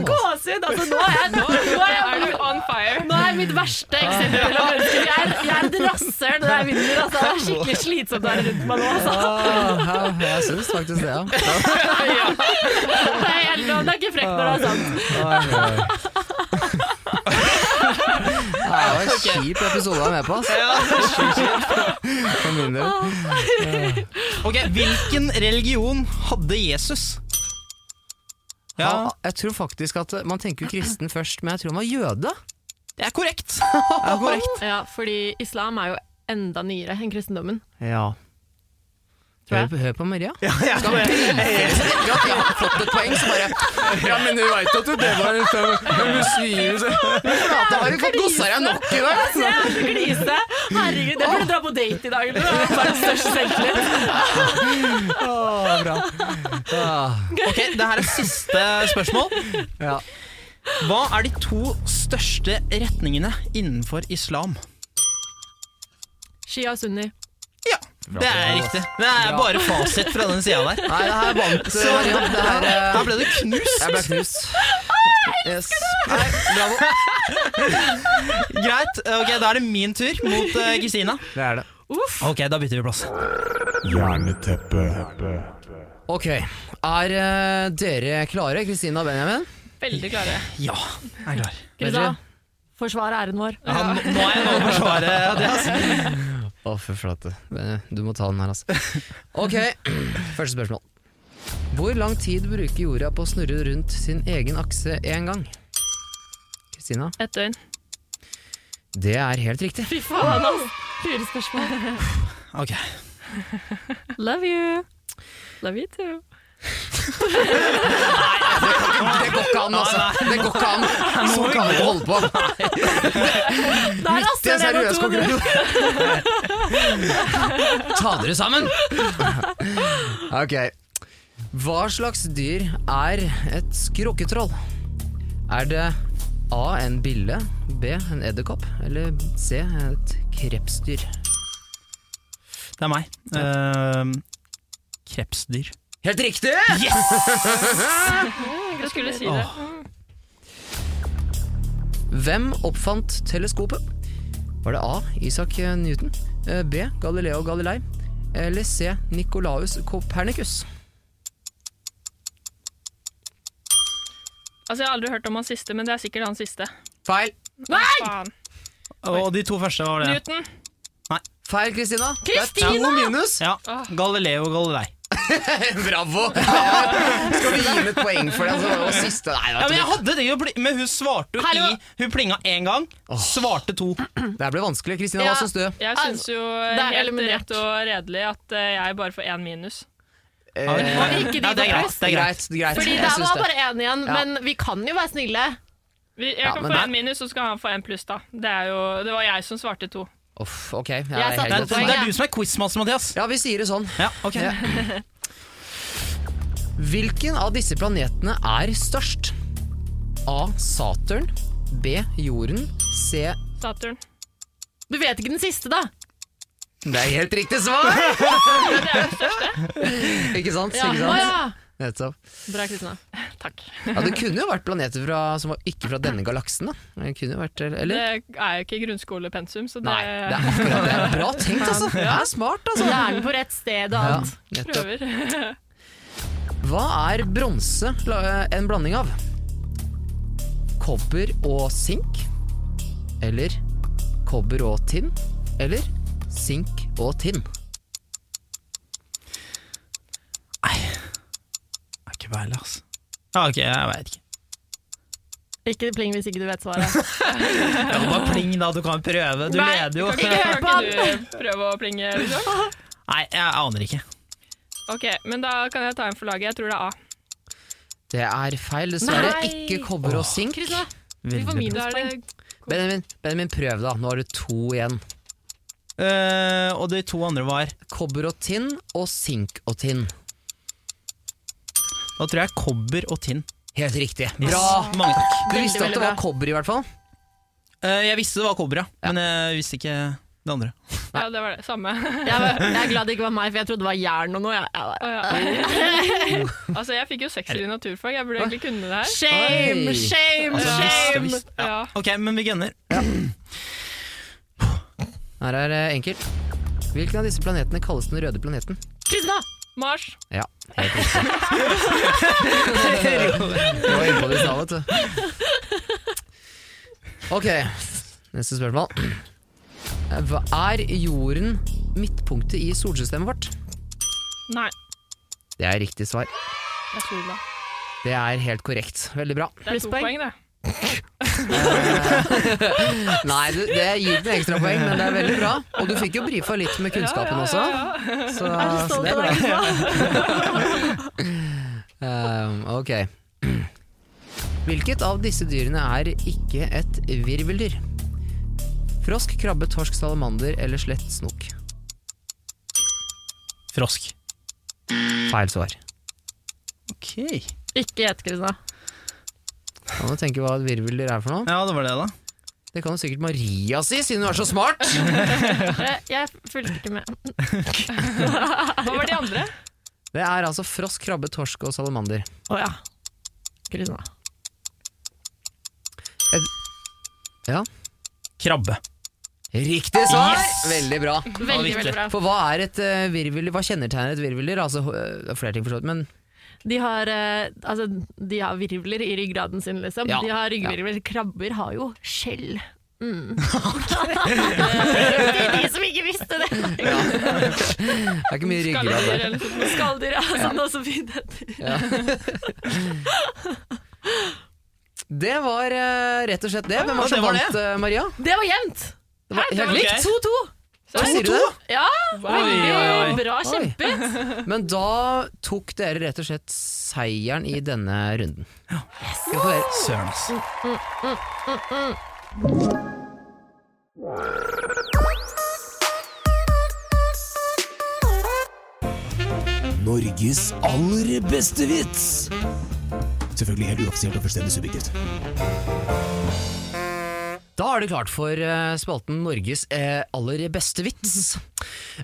[SPEAKER 9] Gåsehud! Altså, nå er jeg, nå, nå er jeg
[SPEAKER 8] Er du on fire?
[SPEAKER 9] Nå er mitt verste eksempel av mennesker. Jeg er, jeg er et rasshøl når jeg vinner. Altså. Det er skikkelig slitsomt å være rundt meg nå. Altså.
[SPEAKER 6] Jeg syns faktisk det, ja.
[SPEAKER 9] Det, er helt, lov. det er ikke frekt når det er sant.
[SPEAKER 6] eh, Det var en kjip episode jeg var med på. ass. For min del.
[SPEAKER 5] Ok, Hvilken religion hadde Jesus? Ja,
[SPEAKER 6] Ja, jeg tror faktisk at eh, Man tenker jo kristen først, men jeg tror han var jøde.
[SPEAKER 5] det er korrekt. Det er korrekt.
[SPEAKER 9] Ja, fordi islam er jo enda nyere enn kristendommen.
[SPEAKER 6] Ja.
[SPEAKER 9] Tror
[SPEAKER 6] Hør
[SPEAKER 9] jeg.
[SPEAKER 6] på, hør på Maria.
[SPEAKER 5] Ja, ja.
[SPEAKER 6] Ikke at jeg har fått et poeng, så bare Ja, men du veit at det var en muslim Flate, har du fått gossa deg nok i dag?
[SPEAKER 9] Se, jeg begynte å glise. Herregud, jeg burde dra på date i dag. eller noe. Det var den største selvtillit.
[SPEAKER 6] Å, bra. Ah,
[SPEAKER 5] Ok, Det her er siste spørsmål.
[SPEAKER 6] ja.
[SPEAKER 5] Hva er de to største retningene innenfor islam?
[SPEAKER 9] Shia og sunni.
[SPEAKER 5] Ja, det er riktig. Det er
[SPEAKER 6] Bra.
[SPEAKER 5] bare fasit fra den sida der.
[SPEAKER 6] Nei, det her vant
[SPEAKER 5] Så
[SPEAKER 6] Maria. Det her, eh,
[SPEAKER 5] da ble du knust.
[SPEAKER 6] jeg ble knust. Yes.
[SPEAKER 5] Nei, bravo. Greit. ok, Da er det min tur mot eh, Kristina.
[SPEAKER 6] Det er det.
[SPEAKER 5] ok, da bytter vi plass.
[SPEAKER 6] Ok, er eh, dere klare, Kristina og Benjamin?
[SPEAKER 8] Veldig klare.
[SPEAKER 5] Ja, jeg er klar.
[SPEAKER 9] Krista, forsvar æren vår.
[SPEAKER 5] Ja, nå nå er jeg nå å forsvare det. Altså.
[SPEAKER 6] Å, fy flate. Benjamin, Du må ta den her, altså. Ok, første spørsmål. Hvor lang tid bruker jorda på å snurre rundt sin egen akse én gang? Kristina?
[SPEAKER 8] Ett døgn.
[SPEAKER 6] Det er helt riktig.
[SPEAKER 9] Fy faen, ass. Fire spørsmål.
[SPEAKER 5] Ok,
[SPEAKER 9] Love you. Love you too.
[SPEAKER 6] Det går ikke an, altså! Det går ikke an! Sånn kan vi ikke holde på.
[SPEAKER 9] Der, ass,
[SPEAKER 6] Det er
[SPEAKER 9] det var
[SPEAKER 6] seriøs
[SPEAKER 9] to minutter.
[SPEAKER 6] konkurranse! Ta dere sammen! ok. Hva slags dyr er et skrukketråll? Er det A en bille, B en edderkopp eller C et krepsdyr?
[SPEAKER 5] det er meg. Ehm, krepsdyr.
[SPEAKER 6] Helt riktig!
[SPEAKER 8] Jeg skulle si det.
[SPEAKER 6] Hvem oppfant teleskopet? Var det A. Isak Newton, eh, B. Galileo Galilei eller C. Nikolaus Kopernikus?
[SPEAKER 8] Altså, jeg har aldri hørt om han siste, men det er sikkert han siste.
[SPEAKER 6] Feil.
[SPEAKER 8] Faen.
[SPEAKER 5] Og de to første var det.
[SPEAKER 8] Newton.
[SPEAKER 6] Feil, Kristina. Det er to minus.
[SPEAKER 5] Ja, Galileo Galilei.
[SPEAKER 6] Bravo! Skal vi gi med et poeng for den? Det var siste Nei,
[SPEAKER 5] Ja, men jeg hadde det jo, pli- men hun svarte jo
[SPEAKER 9] Hallo.
[SPEAKER 5] i Hun plinga én gang, svarte to.
[SPEAKER 6] Det her ble vanskelig. Kristina,
[SPEAKER 9] Ja.
[SPEAKER 6] hva syns du?
[SPEAKER 8] Jeg
[SPEAKER 9] Altså,
[SPEAKER 8] syns jo
[SPEAKER 9] det er
[SPEAKER 8] helt
[SPEAKER 9] eliminert.
[SPEAKER 8] rett og redelig at eh, jeg bare får én minus.
[SPEAKER 6] Eh,
[SPEAKER 5] Ja,
[SPEAKER 9] Ikke de
[SPEAKER 5] det er
[SPEAKER 9] på
[SPEAKER 5] greit.
[SPEAKER 9] plass.
[SPEAKER 5] Det er greit.
[SPEAKER 6] greit. greit.
[SPEAKER 9] Fordi
[SPEAKER 6] Jeg
[SPEAKER 9] der
[SPEAKER 6] syns
[SPEAKER 9] var bare én igjen, men vi kan jo være snille.
[SPEAKER 8] Vi- Jeg
[SPEAKER 6] Ja,
[SPEAKER 8] kan
[SPEAKER 6] men
[SPEAKER 8] få
[SPEAKER 6] det-
[SPEAKER 8] én minus, så skal han få én pluss, da. Det, er jo, det var jeg som svarte to.
[SPEAKER 6] Uff, ok. Jeg
[SPEAKER 9] Jeg
[SPEAKER 6] er
[SPEAKER 9] satte
[SPEAKER 5] Det
[SPEAKER 6] helt
[SPEAKER 5] er,
[SPEAKER 9] poeng,
[SPEAKER 5] det
[SPEAKER 9] ja.
[SPEAKER 5] er du som er quizmaster, Mathias.
[SPEAKER 6] Ja, vi sier det sånn.
[SPEAKER 5] Ja, ok.
[SPEAKER 6] Ja. Hvilken av disse planetene er størst? A. Saturn. B. Jorden. C.
[SPEAKER 8] Saturn.
[SPEAKER 9] Du vet ikke den siste, da.
[SPEAKER 6] Det er helt riktig svar! Ikke sant?
[SPEAKER 9] Ja.
[SPEAKER 6] Ikke
[SPEAKER 9] Å,
[SPEAKER 6] sant?
[SPEAKER 9] ja.
[SPEAKER 6] Nettopp.
[SPEAKER 9] Bra, Kristina.
[SPEAKER 8] Takk.
[SPEAKER 6] Ja, det kunne jo vært planeter fra, som var ikke fra denne galaksen, da. Det kunne jo vært,
[SPEAKER 8] Det
[SPEAKER 6] eller?
[SPEAKER 8] er jo ikke grunnskolepensum, så det,
[SPEAKER 6] Nei, det er akkurat det. Bra tenkt, altså. Det er smart, altså.
[SPEAKER 9] Hjernen på rett sted og
[SPEAKER 6] Ja,
[SPEAKER 9] alt.
[SPEAKER 6] nettopp.
[SPEAKER 8] prøver.
[SPEAKER 6] Hva er bronse la- eh, en blanding av? Kobber og sink? Eller kobber og tinn? Eller sink og tinn?
[SPEAKER 5] ikke peiling, altså. Ja, ok, jeg veit ikke.
[SPEAKER 9] Ikke pling hvis ikke du vet svaret.
[SPEAKER 5] Ja, bare pling, da. Du kan prøve. Du
[SPEAKER 9] Nei,
[SPEAKER 5] leder jo.
[SPEAKER 9] du kan
[SPEAKER 5] Nei,
[SPEAKER 9] ikke-
[SPEAKER 8] Kan ikke du prøve å plinge, liksom?
[SPEAKER 5] jeg aner ikke.
[SPEAKER 8] Ok, men da kan jeg ta en for laget. Jeg tror det er A.
[SPEAKER 6] Det er feil, dessverre.
[SPEAKER 9] Nei.
[SPEAKER 6] Ikke kobber og sink.
[SPEAKER 9] Krista, du får
[SPEAKER 5] Veldig bra.
[SPEAKER 9] minuspoeng.
[SPEAKER 6] Benjamin, Benjamin, prøv da. Nå har du to igjen.
[SPEAKER 5] Eh, og de to andre var
[SPEAKER 6] Kobber og tinn og sink og tinn.
[SPEAKER 5] Da tror jeg kobber og tinn.
[SPEAKER 6] Helt riktig. Bra!
[SPEAKER 5] Mange takk.
[SPEAKER 6] Du visste
[SPEAKER 9] veldig
[SPEAKER 6] at det var
[SPEAKER 9] bra.
[SPEAKER 6] kobber, i hvert fall.
[SPEAKER 5] Eh, jeg visste det var kobber, ja. Men jeg visste ikke det andre.
[SPEAKER 8] Ja, det var det. Samme.
[SPEAKER 9] Jeg, var, jeg er glad det ikke var meg, for jeg trodde det var jern og noe. Jeg, jeg,
[SPEAKER 8] Å, ja. altså, jeg fikk jo sekser i naturfag. Jeg burde egentlig kunne det her.
[SPEAKER 9] shame,
[SPEAKER 6] Oi.
[SPEAKER 9] shame,
[SPEAKER 5] Altså, jeg
[SPEAKER 9] shame!
[SPEAKER 5] visste, jeg visste. Ja.
[SPEAKER 8] Ja.
[SPEAKER 5] Ok, men vi gunner.
[SPEAKER 6] Her er det enkelt. Hvilken av disse planetene kalles den røde planeten?
[SPEAKER 9] Krista!
[SPEAKER 8] Mars.
[SPEAKER 6] Ja, helt riktig. Du var inne på det i stad, vet du. Ok, neste spørsmål. Hva er jorden midtpunktet i solsystemet vårt?
[SPEAKER 8] Nei.
[SPEAKER 6] Det er riktig svar.
[SPEAKER 8] Det er sola.
[SPEAKER 6] Det er helt korrekt. Veldig bra.
[SPEAKER 8] Det er to
[SPEAKER 9] Plusspoeng.
[SPEAKER 8] poeng, det.
[SPEAKER 6] Nei, det, det gir den ekstrapoeng, men det er veldig bra. Og du fikk jo brifa litt med kunnskapen også. Så, så det er bra. Um, ok. Hvilket av disse dyrene er ikke et virveldyr? Frosk, krabbe, torsk, salamander eller slett snok?
[SPEAKER 5] Frosk.
[SPEAKER 6] Feil svar.
[SPEAKER 5] Ok.
[SPEAKER 9] Ikke gjett, Krista.
[SPEAKER 6] Kan du tenke hva et virveldyr er for noe?
[SPEAKER 5] Ja, det var det, da.
[SPEAKER 6] Det kan jo sikkert Maria si, siden hun er så smart!
[SPEAKER 9] Jeg, jeg fulgte ikke med.
[SPEAKER 8] Hva var de andre?
[SPEAKER 6] Det er altså frosk, krabbe, torsk og salamander.
[SPEAKER 9] Å ja. Krista.
[SPEAKER 6] Ja.
[SPEAKER 5] Krabbe.
[SPEAKER 6] Riktig svar!
[SPEAKER 5] Yes!
[SPEAKER 6] Veldig bra.
[SPEAKER 9] Veldig,
[SPEAKER 5] viktig.
[SPEAKER 9] veldig bra.
[SPEAKER 6] For hva er et eh, virveldyr? Hva kjennetegner et virveldyr? Altså, eh, det er flere ting for så vidt, men
[SPEAKER 9] De har, eh, altså, de har virvler i ryggraden sin, liksom.
[SPEAKER 6] Ja.
[SPEAKER 9] De har ryggvirvler. Krabber har jo skjell. Mm. Til de som ikke visste det!
[SPEAKER 6] det er ikke mye ryggrad
[SPEAKER 8] Skalldyr
[SPEAKER 6] der.
[SPEAKER 8] eller sånt.
[SPEAKER 9] Skalldyr, altså, noe som fint heter.
[SPEAKER 6] Det var eh, rett og slett det. Hvem
[SPEAKER 5] Ja,
[SPEAKER 6] var det som
[SPEAKER 5] det var det.
[SPEAKER 6] vant, eh, Maria?
[SPEAKER 9] Det var jevnt!
[SPEAKER 6] Det var helt
[SPEAKER 5] var
[SPEAKER 6] likt.
[SPEAKER 5] gøy.
[SPEAKER 9] 2-2.
[SPEAKER 6] Hva sier du det?
[SPEAKER 9] Ja,
[SPEAKER 5] Oi, oi, oi.
[SPEAKER 9] bra kjempet.
[SPEAKER 6] Men da tok dere rett og slett seieren i denne runden. Gratulerer.
[SPEAKER 5] Søren, ass.
[SPEAKER 7] Norges aller beste vits. Selvfølgelig helt uoffisielt og fullstendig subjektivt.
[SPEAKER 6] Da er det klart for eh, spalten Norges eh, aller beste vits.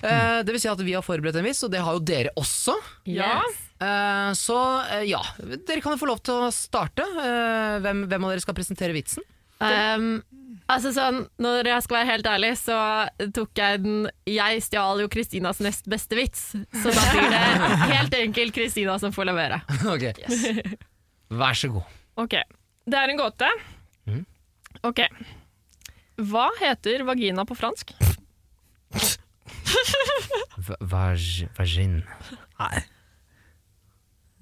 [SPEAKER 6] Eh, det vil si at vi har forberedt en vits, og det har jo dere også.
[SPEAKER 9] Ja.
[SPEAKER 6] Eh, så eh, ja, dere kan jo få lov til å starte. Eh, hvem, hvem av dere skal presentere vitsen?
[SPEAKER 9] Um, altså sånn, når jeg skal være helt ærlig, så tok jeg den Jeg stjal jo Kristinas nest beste vits, så da blir det helt enkelt Kristina som får levere.
[SPEAKER 6] Ok, Vær så god.
[SPEAKER 8] Ok, det er en gåte.
[SPEAKER 5] Mm.
[SPEAKER 8] Ok. Hva heter vagina på fransk?
[SPEAKER 6] V- Vag, vagin.
[SPEAKER 5] Nei.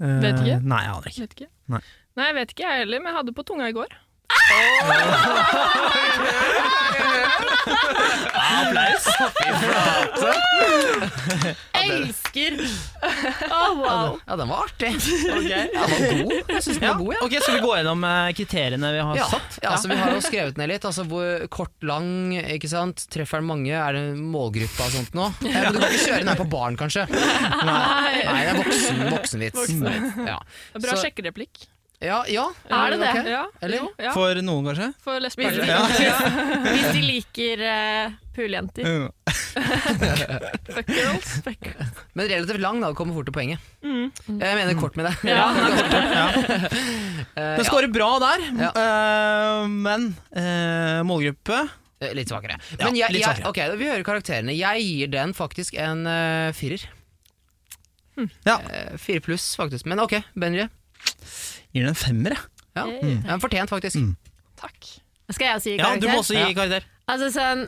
[SPEAKER 8] Vet ikke.
[SPEAKER 5] Eh, Nei, jeg aner ikke.
[SPEAKER 8] Vet ikke.
[SPEAKER 5] Nei.
[SPEAKER 8] Nei, jeg vet ikke jeg heller, men jeg hadde på tunga i går.
[SPEAKER 5] Applaus!
[SPEAKER 9] Elsker! Å, wow.
[SPEAKER 6] Ja, den var artig. Den var god. Jeg synes den
[SPEAKER 5] Ja.
[SPEAKER 6] var god, ja.
[SPEAKER 5] Ok, Skal vi gå gjennom eh, kriteriene vi har
[SPEAKER 6] Ja,
[SPEAKER 5] satt?
[SPEAKER 6] ja, altså Vi har jo skrevet ned litt. Altså hvor Kort, lang, ikke sant. Treffer den mange? Er det målgruppa og sånt noe? Eh, men du kan ikke kjøre den her på barn, kanskje. Nei, det er voksen, voksenvits. Ja.
[SPEAKER 8] Det er Bra
[SPEAKER 6] Så-
[SPEAKER 8] sjekkereplikk.
[SPEAKER 6] Ja, ja.
[SPEAKER 9] Er det det?
[SPEAKER 6] Ok.
[SPEAKER 8] Ja.
[SPEAKER 6] Eller?
[SPEAKER 8] Jo, ja. For,
[SPEAKER 5] For noen, kanskje?
[SPEAKER 8] lesber.
[SPEAKER 9] Hvis-
[SPEAKER 8] Ja.
[SPEAKER 9] Hvis de liker uh, pulejenter.
[SPEAKER 5] Mm.
[SPEAKER 8] Fuck girls.
[SPEAKER 6] Men relativt lang, da. Kommer fort til poenget. Jeg mener kort med det.
[SPEAKER 5] Ja, den er kort, ja.
[SPEAKER 6] Eh,
[SPEAKER 5] Den
[SPEAKER 6] ja.
[SPEAKER 5] scorer bra der, eh, men eh, målgruppe
[SPEAKER 6] Eh, Litt svakere.
[SPEAKER 5] Ja,
[SPEAKER 6] Men jeg,
[SPEAKER 5] litt
[SPEAKER 6] jeg,
[SPEAKER 5] svakere.
[SPEAKER 6] ok, Vi hører karakterene. Jeg gir den faktisk en eh, firer.
[SPEAKER 5] Ja.
[SPEAKER 6] Eh, Fire pluss, faktisk. Men ok, Benry.
[SPEAKER 5] gir den en femmer, jeg.
[SPEAKER 6] Ja. Den Fortjent, faktisk.
[SPEAKER 5] Mm.
[SPEAKER 8] Takk.
[SPEAKER 9] Skal jeg også
[SPEAKER 5] Ja,
[SPEAKER 9] gi
[SPEAKER 5] du
[SPEAKER 9] karakter?
[SPEAKER 5] må også gi karakter.
[SPEAKER 9] Altså sånn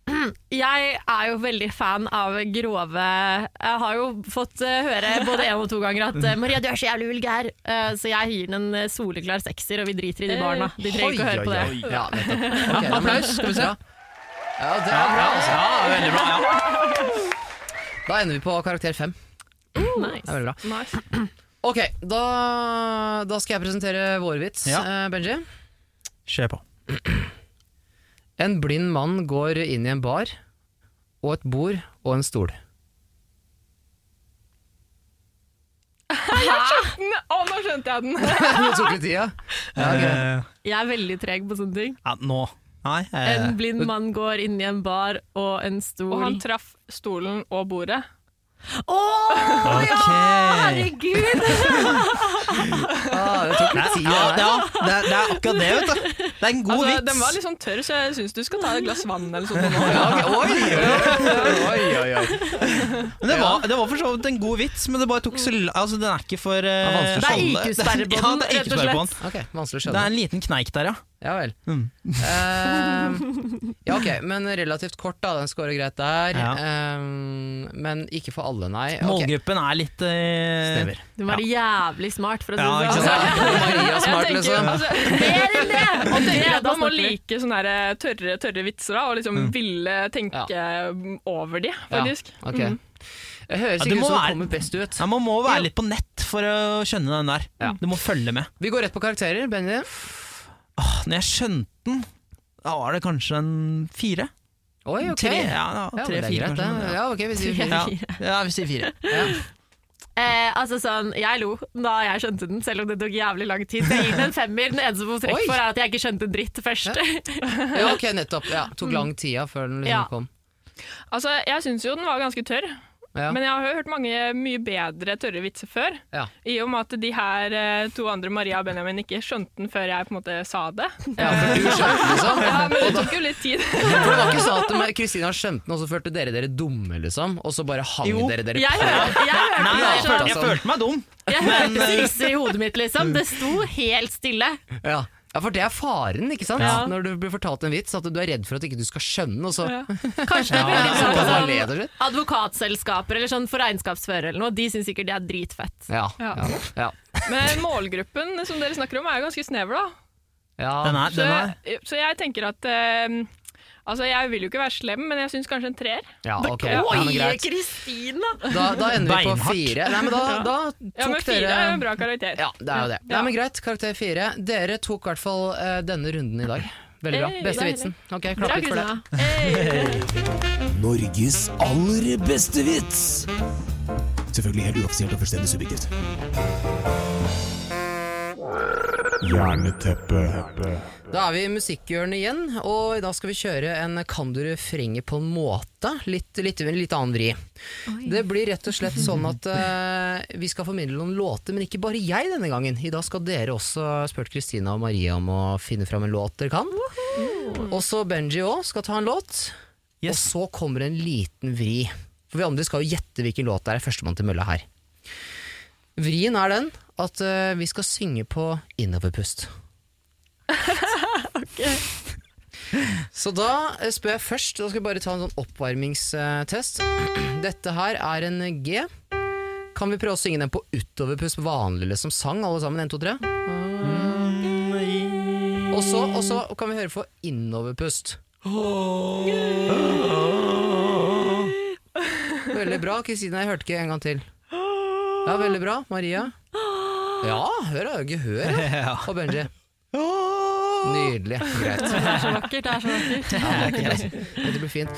[SPEAKER 9] Jeg er jo veldig fan av grove Jeg har jo fått eh, høre både én og to ganger at eh, 'Maria, du er så jævlig vulgær', Eh, så jeg gir den en eh, soleklar sekser, og vi driter i de barna. De trenger ikke å høre på det.
[SPEAKER 6] Oi, oi, oi. Ja, nettopp. Ok, men-
[SPEAKER 5] applaus, skal vi se.
[SPEAKER 6] Ja. Ja, det
[SPEAKER 5] Ja,
[SPEAKER 6] er bra. altså.
[SPEAKER 5] ja, veldig bra. Ja.
[SPEAKER 6] Da ender vi på karakter fem. Det er veldig bra.
[SPEAKER 8] Nice.
[SPEAKER 6] Ok, da, da skal jeg presentere vår vits,
[SPEAKER 5] Ja.
[SPEAKER 6] eh, Benji.
[SPEAKER 5] Kjør på.
[SPEAKER 6] En blind mann går inn i en bar, og et bord og en stol.
[SPEAKER 8] N- Å, nå skjønte jeg den!
[SPEAKER 6] Det tok litt tid, ja. Ja, ok.
[SPEAKER 9] Jeg er veldig treg på sånne ting.
[SPEAKER 5] Eh, ja, nå. Nei. Eh,
[SPEAKER 9] En blind mann går inn i en bar og en stol
[SPEAKER 8] Og han traff stolen og bordet.
[SPEAKER 9] Å ja!
[SPEAKER 5] ok.
[SPEAKER 9] Herregud!
[SPEAKER 6] Ah, det tok
[SPEAKER 5] Nei,
[SPEAKER 6] litt tid,
[SPEAKER 5] ja,
[SPEAKER 6] det der.
[SPEAKER 5] ja, det, er, det er akkurat det, vet du. Det er en god
[SPEAKER 8] Altså,
[SPEAKER 5] vits.
[SPEAKER 8] den var litt sånn tørr, så jeg syns du skal ta et glass vann eller sånn. sånt. nå.
[SPEAKER 6] Ja, ok, Oi, oi, oi, oi, oi.
[SPEAKER 5] Men det, var, det var for så vidt en god vits, men det bare tok så l- Altså, den er ikke for eh,
[SPEAKER 6] er vanskelig å
[SPEAKER 5] alle.
[SPEAKER 9] Det er IQ-sperre på
[SPEAKER 5] Ja,
[SPEAKER 9] den,
[SPEAKER 5] det er
[SPEAKER 9] rett og
[SPEAKER 5] IQ-sperre på
[SPEAKER 9] slett.
[SPEAKER 5] den.
[SPEAKER 6] Ok, vanskelig å
[SPEAKER 5] Det er
[SPEAKER 6] skjønne.
[SPEAKER 5] en liten kneik der, ja.
[SPEAKER 6] Ja vel.
[SPEAKER 5] Mm.
[SPEAKER 6] Eh, ja, ok, men relativt kort, da. Den scorer greit der.
[SPEAKER 5] Ja.
[SPEAKER 6] Eh, men ikke for alle, nei. Ok.
[SPEAKER 5] Målgruppen er litt eh,
[SPEAKER 6] Stemmer.
[SPEAKER 9] Du må være jævlig smart for å si
[SPEAKER 5] Ja,
[SPEAKER 9] det
[SPEAKER 5] ikke
[SPEAKER 9] sånn.
[SPEAKER 5] sant?
[SPEAKER 6] Maria smart,
[SPEAKER 8] Jeg tenker jo,
[SPEAKER 6] liksom.
[SPEAKER 8] altså,
[SPEAKER 9] Mer enn det! Og det, da
[SPEAKER 8] Jeg man må
[SPEAKER 9] snakker vi.
[SPEAKER 8] like sånne her eh, tørre, tørre vitser da, og liksom ville tenke over de, faktisk.
[SPEAKER 6] Mm. Ja, ok.
[SPEAKER 8] Mm.
[SPEAKER 6] Det høres
[SPEAKER 5] Ja, det
[SPEAKER 6] ikke ut
[SPEAKER 5] må
[SPEAKER 6] som det
[SPEAKER 5] være-
[SPEAKER 6] kommer best ut.
[SPEAKER 5] Ja, man må være litt på nett for å skjønne den der.
[SPEAKER 6] Ja.
[SPEAKER 5] Du må følge med.
[SPEAKER 6] Vi går rett på karakterer. Benny,
[SPEAKER 5] Åh, når jeg skjønte den, da var det kanskje en fire.
[SPEAKER 6] Oi, ok.
[SPEAKER 5] Tre,
[SPEAKER 6] ja,
[SPEAKER 5] ja, ja,
[SPEAKER 6] men
[SPEAKER 5] tre
[SPEAKER 6] det er
[SPEAKER 5] fire,
[SPEAKER 6] greit,
[SPEAKER 5] kanskje.
[SPEAKER 6] det.
[SPEAKER 5] men
[SPEAKER 6] Ja, ok, vi sier
[SPEAKER 5] Ja.
[SPEAKER 6] fire.
[SPEAKER 5] Ja. ja, vi sier fire.
[SPEAKER 6] Ja.
[SPEAKER 9] Eh, altså sånn, Jeg lo da jeg skjønte den, selv om det tok jævlig lang tid. Så jeg gir den en femmer. Den eneste som får trekk
[SPEAKER 6] Oi.
[SPEAKER 9] for, er at jeg ikke skjønte dritt først.
[SPEAKER 6] ja, ok, nettopp. Ja, tok lang tida før den liksom
[SPEAKER 9] Ja.
[SPEAKER 6] kom.
[SPEAKER 8] Altså, jeg syns jo den var ganske tørr,
[SPEAKER 6] Ja.
[SPEAKER 8] men jeg har jo hørt mange mye bedre tørre vitser før.
[SPEAKER 6] Ja.
[SPEAKER 8] I og med at de her eh, to andre, Maria og Benjamin, ikke skjønte den før jeg på en måte sa det.
[SPEAKER 6] ja, for du skjønte liksom.
[SPEAKER 8] Ja, men det tok jo litt tid.
[SPEAKER 6] For det var ikke sånn at de- Kristina skjønte den, og så følte dere dere dumme, liksom. Og så bare hang
[SPEAKER 5] Jo.
[SPEAKER 6] dere dere
[SPEAKER 9] Jeg hørte, jeg hørte,
[SPEAKER 5] Nei, jeg
[SPEAKER 9] sånn-
[SPEAKER 5] følte, jeg følte meg dum.
[SPEAKER 9] jeg hørte
[SPEAKER 6] eh,
[SPEAKER 9] sisser i hodet mitt, liksom. Det sto helt stille.
[SPEAKER 6] Ja. ja, for det er faren, ikke sant?
[SPEAKER 5] Ja.
[SPEAKER 6] Når du blir fortalt en vits, at du er redd for at ikke du skal skjønne, og så
[SPEAKER 8] Ja.
[SPEAKER 9] Kanskje
[SPEAKER 6] Ja,
[SPEAKER 9] det burde
[SPEAKER 6] så
[SPEAKER 9] vært
[SPEAKER 6] bare
[SPEAKER 9] sånn
[SPEAKER 6] le, rett og slett.
[SPEAKER 9] advokatselskaper eller sånn for regnskapsførere eller noe. De syns sikkert det er dritfett.
[SPEAKER 6] Ja.
[SPEAKER 8] Ja.
[SPEAKER 6] Ja. Ja.
[SPEAKER 8] Men målgruppen som dere snakker om, er jo ganske snever, da.
[SPEAKER 5] sånn. Den
[SPEAKER 6] ja.
[SPEAKER 5] er,
[SPEAKER 8] Så,
[SPEAKER 5] den er.
[SPEAKER 8] så jeg tenker at eh, Altså, jeg vil jo ikke være slem, men jeg syns kanskje en treer.
[SPEAKER 6] ja ok. Ja, men
[SPEAKER 9] Oi,
[SPEAKER 6] greit.
[SPEAKER 9] Kristina!
[SPEAKER 6] Da, da ender vi på
[SPEAKER 5] Beinhardt.
[SPEAKER 6] fire. Nei, men da, da
[SPEAKER 8] Ja, men
[SPEAKER 6] tok
[SPEAKER 8] fire er jo en
[SPEAKER 6] dere
[SPEAKER 8] bra karakter.
[SPEAKER 6] Ja, det er jo det. Nei, men greit, karakter fire. Dere tok i hvert fall eh, denne runden i dag. Veldig bra.
[SPEAKER 8] Hey,
[SPEAKER 6] Beste
[SPEAKER 8] deilig.
[SPEAKER 6] vitsen. Ok, klapp litt for det.
[SPEAKER 7] Norges aller beste vits. Selvfølgelig helt uoffisielt og fullstendig subjektivt.
[SPEAKER 6] Da er vi i musikkhjørnet igjen, og i dag skal vi kjøre en Kan du refrenget på en måte? Litt, litt, litt annen vri. Det blir rett og slett sånn at eh, vi skal formidle noen låter, men ikke bare jeg denne gangen. I dag skal dere også jeg har spurt Kristina og Maria om å finne fram en låt dere kan. Også Benji òg skal ta en låt. Og
[SPEAKER 5] Yes.
[SPEAKER 6] så kommer en liten vri. For vi andre skal jo gjette hvilken låt det er. Førstemann til mølla her. Vrien er den at eh, vi skal synge på innoverpust. Så da eh, spør jeg først, da skal jeg bare ta en sånn oppvarmingstest. Dette her er en G. Kan vi prøve å synge den på utoverpust vanlig liksom sang, alle sammen? 1, 2, 3. Og så, og så kan vi høre på innoverpust. Veldig bra, Kristina. Jeg hørte ikke en gang til. Ja, veldig bra. Maria. Ja, hør da. Gehør, ja. Og Benji. Nydelig. Greit.
[SPEAKER 9] Det er så vakkert. Det er så vakkert.
[SPEAKER 6] Ja, det er ikke greit. Dette blir fint.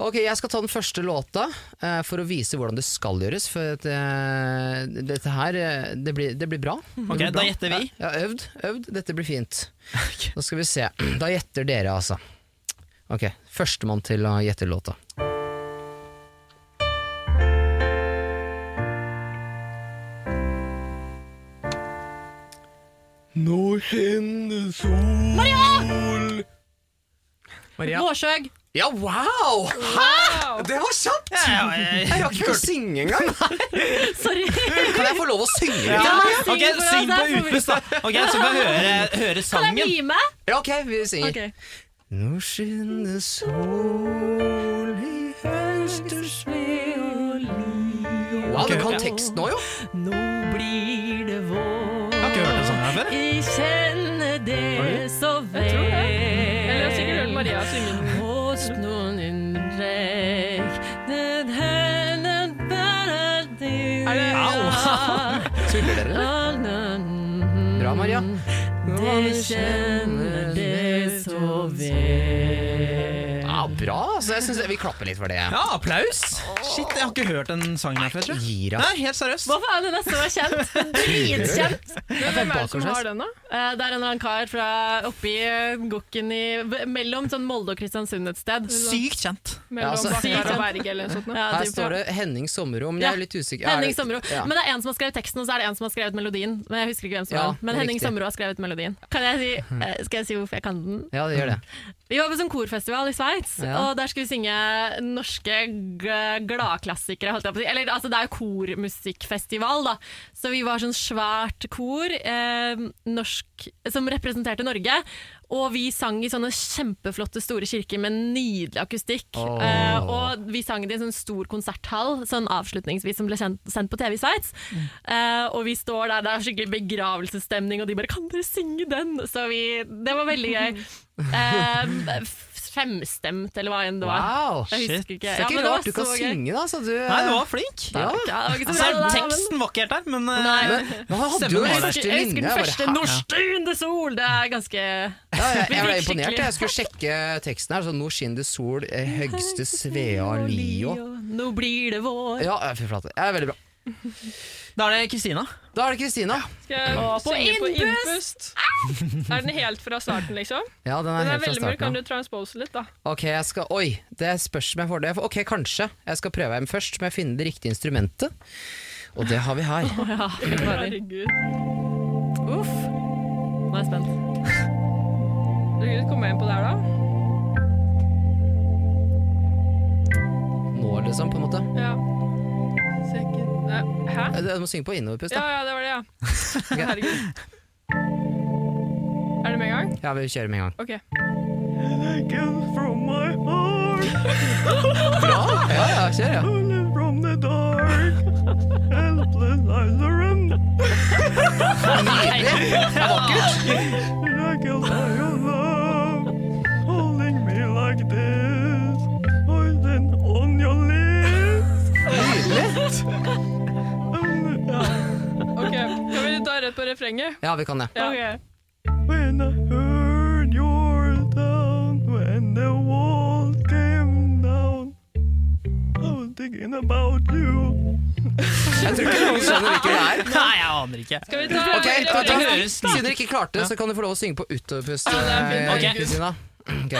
[SPEAKER 6] Ok, jeg skal ta den første låta eh, for å vise hvordan det skal gjøres. For at, eh, dette her, eh, det blir, det blir bra. Det
[SPEAKER 5] Ok,
[SPEAKER 6] blir
[SPEAKER 5] da
[SPEAKER 6] bra.
[SPEAKER 5] gjetter vi.
[SPEAKER 6] Ja, jeg har øvd, øvd. Dette blir fint. Nå skal vi se. Da gjetter dere, altså. Ok, førstemann til å gjette låta. Nå skinner sol Maria! Maria.
[SPEAKER 9] Vårsøg.
[SPEAKER 6] Ja, wow! Hæ?! Det var kjapt!
[SPEAKER 5] Ja, jeg-
[SPEAKER 6] Jeg rakk ikke å synge engang.
[SPEAKER 9] Sorry.
[SPEAKER 6] Kan jeg få lov å synge?
[SPEAKER 5] Ja.
[SPEAKER 6] litt?
[SPEAKER 5] Ok,
[SPEAKER 9] syng for oss,
[SPEAKER 5] syng på
[SPEAKER 9] da får vi-
[SPEAKER 5] utpust, da. Ok, Så får jeg høre, høre
[SPEAKER 9] Kan jeg
[SPEAKER 5] sangen.
[SPEAKER 9] mime?
[SPEAKER 6] Ja, ok, vi synger.
[SPEAKER 9] Ok.
[SPEAKER 6] Nå skinner sol i høsters ved og ly Wow, du kan teksten nå jo!
[SPEAKER 9] Nå blir det vår.
[SPEAKER 5] Jeg har ikke hørt en sånn her før.
[SPEAKER 9] Jeg kjenner det så vel.
[SPEAKER 8] Jeg tror det. Eller jeg har sikkert hørt Maria synge den.
[SPEAKER 9] Hos noen innrek, den hender bare din.
[SPEAKER 8] Er det-
[SPEAKER 5] Au!
[SPEAKER 6] Tuller dere? eller? Bra, Maria.
[SPEAKER 9] Det kjenner det så vel.
[SPEAKER 6] Ja, bra. altså. jeg synes Vi klapper litt for det.
[SPEAKER 5] Ja, applaus! Shit, jeg har ikke hørt den sangen her før. tror jeg.
[SPEAKER 6] Gira.
[SPEAKER 5] Nei, helt seriøst.
[SPEAKER 9] Hva faen, den er så kjent. Dritkjent.
[SPEAKER 8] Men hvem er det som
[SPEAKER 6] bakoversveis.
[SPEAKER 8] har den, da?
[SPEAKER 9] Eh, Det er en eller annen kar fra oppi eh, Gokken i b- Mellom sånn Molde og Kristiansund et sted.
[SPEAKER 5] Sykt kjent.
[SPEAKER 8] Mellom
[SPEAKER 6] altså-
[SPEAKER 8] Bakkar og Berge eller noe sånt? nå?
[SPEAKER 9] Ja,
[SPEAKER 6] Her
[SPEAKER 9] typ,
[SPEAKER 6] står
[SPEAKER 9] ja.
[SPEAKER 6] det Henning Sommerrom. Jeg er litt usikker. Er
[SPEAKER 9] Henning
[SPEAKER 6] det-
[SPEAKER 9] Sommerå.
[SPEAKER 6] Ja.
[SPEAKER 9] Men det er en som har skrevet teksten, og så er det en som har skrevet melodien. Men jeg husker ikke hvem som
[SPEAKER 6] Ja,
[SPEAKER 9] var den. Men
[SPEAKER 6] det er
[SPEAKER 9] Henning
[SPEAKER 6] riktig.
[SPEAKER 9] Sommerå har skrevet melodien. Kan jeg si, eh, skal jeg si hvorfor jeg kan den?
[SPEAKER 6] Ja, det gjør det.
[SPEAKER 9] Vi var på sånn korfestival i Sveits,
[SPEAKER 6] Ja.
[SPEAKER 9] og der skulle vi synge norske g- gladklassikere. Holdt jeg på å si. Eller altså, det er jo kormusikkfestival, da. Så vi var sånn svært kor eh, norsk, som representerte Norge. Og vi sang i sånne kjempeflotte store kirker med nydelig akustikk.
[SPEAKER 6] Åh.
[SPEAKER 9] Eh, og vi sang det i en sånn stor konserthall, sånn avslutningsvis, som ble kjent, sendt på TV i Sveits.
[SPEAKER 6] Mm.
[SPEAKER 9] Eh, og vi står der, det er skikkelig begravelsesstemning, og de bare 'kan dere synge den?' Så vi Det var veldig gøy. Eh, f- femstemt, eller hva enn det var.
[SPEAKER 6] Wow.
[SPEAKER 9] Jeg
[SPEAKER 6] shit.
[SPEAKER 9] husker
[SPEAKER 5] shit.
[SPEAKER 9] ikke.
[SPEAKER 6] Det er
[SPEAKER 9] Ja,
[SPEAKER 6] ikke
[SPEAKER 9] men det var
[SPEAKER 6] rart du kan
[SPEAKER 9] så gøy.
[SPEAKER 6] synge, da. Så du,
[SPEAKER 5] Nei, du var flink.
[SPEAKER 6] ja.
[SPEAKER 9] Ja, det var ikke så
[SPEAKER 5] Altså,
[SPEAKER 9] bra, da, men-
[SPEAKER 5] teksten var ikke helt der, men eh,
[SPEAKER 9] Nei.
[SPEAKER 6] Men men han hadde jo
[SPEAKER 5] Stemmen
[SPEAKER 6] den
[SPEAKER 5] var der.
[SPEAKER 9] Jeg
[SPEAKER 6] første
[SPEAKER 9] husker, jeg
[SPEAKER 6] linja.
[SPEAKER 9] husker den
[SPEAKER 6] Jeg, bare,
[SPEAKER 9] første
[SPEAKER 6] hæ?
[SPEAKER 9] 'Norske under sol'. Det er ganske
[SPEAKER 6] ja, jeg,
[SPEAKER 9] Vi
[SPEAKER 6] jeg ble
[SPEAKER 9] fikk
[SPEAKER 6] imponert.
[SPEAKER 9] skikkelig-
[SPEAKER 6] Jeg skulle sjekke teksten her. Så nå skinner det sol, eh, høgste svea lio.
[SPEAKER 9] Nå blir det vår.
[SPEAKER 6] Ja, eh, fy flate. Det er veldig bra.
[SPEAKER 5] Da er det Kristina.
[SPEAKER 6] Da er det Kristina.
[SPEAKER 8] Skal jeg
[SPEAKER 9] Å, på
[SPEAKER 8] synge på
[SPEAKER 9] innpust!
[SPEAKER 8] innpust? Er den helt fra starten, liksom?
[SPEAKER 6] Ja, den
[SPEAKER 8] Den
[SPEAKER 6] er
[SPEAKER 8] er
[SPEAKER 6] helt fra
[SPEAKER 8] veldig mørk. Kan
[SPEAKER 6] starten.
[SPEAKER 8] du transpose litt, da?
[SPEAKER 6] Ok, jeg skal, Oi, det spørs om jeg får det. Ok, kanskje. Jeg skal prøve dem først, må jeg finne det riktige instrumentet. Og det har vi her.
[SPEAKER 9] Ja, fy fader.
[SPEAKER 8] Herregud.
[SPEAKER 9] Uff. Nå er jeg spent.
[SPEAKER 8] Herregud, Kom jeg inn på der, da?
[SPEAKER 6] Nå, liksom, på en måte.
[SPEAKER 8] Ja. Ser ikke- Nei, Hæ?
[SPEAKER 6] Eh, Du må synge på innoverpust,
[SPEAKER 8] Ja,
[SPEAKER 6] da.
[SPEAKER 8] ja, det var det, ja. Herregud. Er det med en gang?
[SPEAKER 6] Ja, vi kjører med en gang.
[SPEAKER 8] OK.
[SPEAKER 6] Ja, ja, kjør, ja.
[SPEAKER 8] ok. Kan vi ta rett på refrenget?
[SPEAKER 6] Ja, vi kan det.
[SPEAKER 1] Oh,
[SPEAKER 8] Ja.
[SPEAKER 1] When I heard your sound, when the wall came down, I was thinking about you.
[SPEAKER 6] Jeg tror ikke noen skjønner hvilken det er.
[SPEAKER 5] Nei, jeg aner ikke.
[SPEAKER 8] Skal vi ta
[SPEAKER 6] Ok, da, da,
[SPEAKER 8] refrenget?
[SPEAKER 5] høres
[SPEAKER 6] Siden dere ikke klarte det, så kan du få lov å synge på utoverpust.
[SPEAKER 8] Ja,
[SPEAKER 5] det er
[SPEAKER 6] eh,
[SPEAKER 5] fint.
[SPEAKER 6] Kristina. Ok.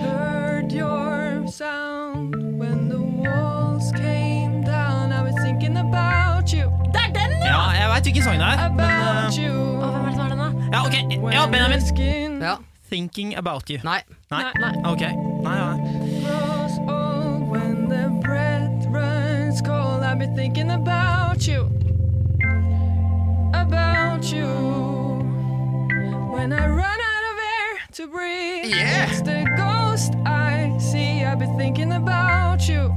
[SPEAKER 1] Heard your sound when the walls came down. I was thinking about you,
[SPEAKER 9] Det er den, ja!
[SPEAKER 5] Ja, jeg veit hvilken sang det er.
[SPEAKER 1] about you.
[SPEAKER 9] Å, Hvem er det som har den, da?
[SPEAKER 5] Ja, ok.
[SPEAKER 1] When
[SPEAKER 5] Ja,
[SPEAKER 1] my
[SPEAKER 5] Benjamin.
[SPEAKER 1] skin
[SPEAKER 6] Ja.
[SPEAKER 5] Thinking about you.
[SPEAKER 6] Nei.
[SPEAKER 5] Nei. Ok. Nei, ja.
[SPEAKER 1] grows old, oh, when the breath runs cold, I've been thinking about you, about you. When I run out of air to breathe,
[SPEAKER 6] Yeah.
[SPEAKER 1] it's the ghost I see. I've been thinking about you,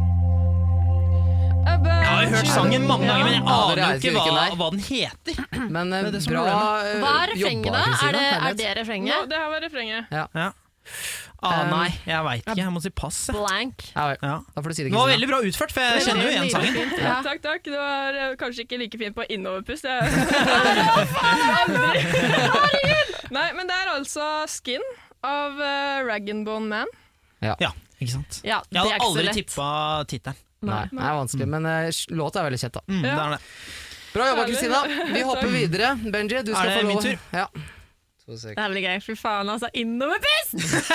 [SPEAKER 5] Jeg har
[SPEAKER 1] about
[SPEAKER 5] jo hørt
[SPEAKER 1] you.
[SPEAKER 5] sangen mange ganger, men jeg
[SPEAKER 6] Ja,
[SPEAKER 5] aner
[SPEAKER 6] dere
[SPEAKER 5] jo ikke
[SPEAKER 6] vet
[SPEAKER 5] hva,
[SPEAKER 6] hvilken det er.
[SPEAKER 5] hva den heter.
[SPEAKER 6] Men eh,
[SPEAKER 5] er det som er
[SPEAKER 6] bra eh,
[SPEAKER 9] Hva er refrenget,
[SPEAKER 6] jobba,
[SPEAKER 9] da?
[SPEAKER 6] Kristina.
[SPEAKER 9] Er det, er
[SPEAKER 6] Herlighet.
[SPEAKER 9] det
[SPEAKER 8] Nå,
[SPEAKER 9] refrenget?
[SPEAKER 8] det her var refrenget.
[SPEAKER 5] Ja. Ah,
[SPEAKER 6] Um,
[SPEAKER 5] nei, jeg veit ikke. Jeg må si pass. jeg.
[SPEAKER 9] Blank.
[SPEAKER 6] Ja, vel.
[SPEAKER 5] Ja.
[SPEAKER 6] Da får du si det,
[SPEAKER 5] Det var
[SPEAKER 6] Kristina.
[SPEAKER 5] veldig bra utført, for jeg kjenner jo igjen sangen.
[SPEAKER 9] Ja.
[SPEAKER 8] Takk, takk. Det var eh, kanskje ikke like fint på innoverpust. Jeg Aldri! Nei, men det er altså Skin av uh, Rag and Bone Man.
[SPEAKER 5] Ja, ikke sant.
[SPEAKER 9] Ja, det
[SPEAKER 5] Jeg
[SPEAKER 9] er
[SPEAKER 5] hadde
[SPEAKER 9] ikke så
[SPEAKER 5] aldri
[SPEAKER 9] lett.
[SPEAKER 5] tippa tittelen.
[SPEAKER 6] Nei, det er vanskelig, men eh, låta er veldig kjett, da.
[SPEAKER 5] Mm, det
[SPEAKER 8] Ja.
[SPEAKER 5] er det.
[SPEAKER 6] Bra jobba, Kristina. Vi hopper
[SPEAKER 8] Takk.
[SPEAKER 6] videre. Benji, du
[SPEAKER 5] Er
[SPEAKER 6] skal
[SPEAKER 5] det
[SPEAKER 6] få lov.
[SPEAKER 5] min tur?
[SPEAKER 6] Ja. To sek.
[SPEAKER 9] Det er veldig gøy. Fy faen, altså. Innoverpust!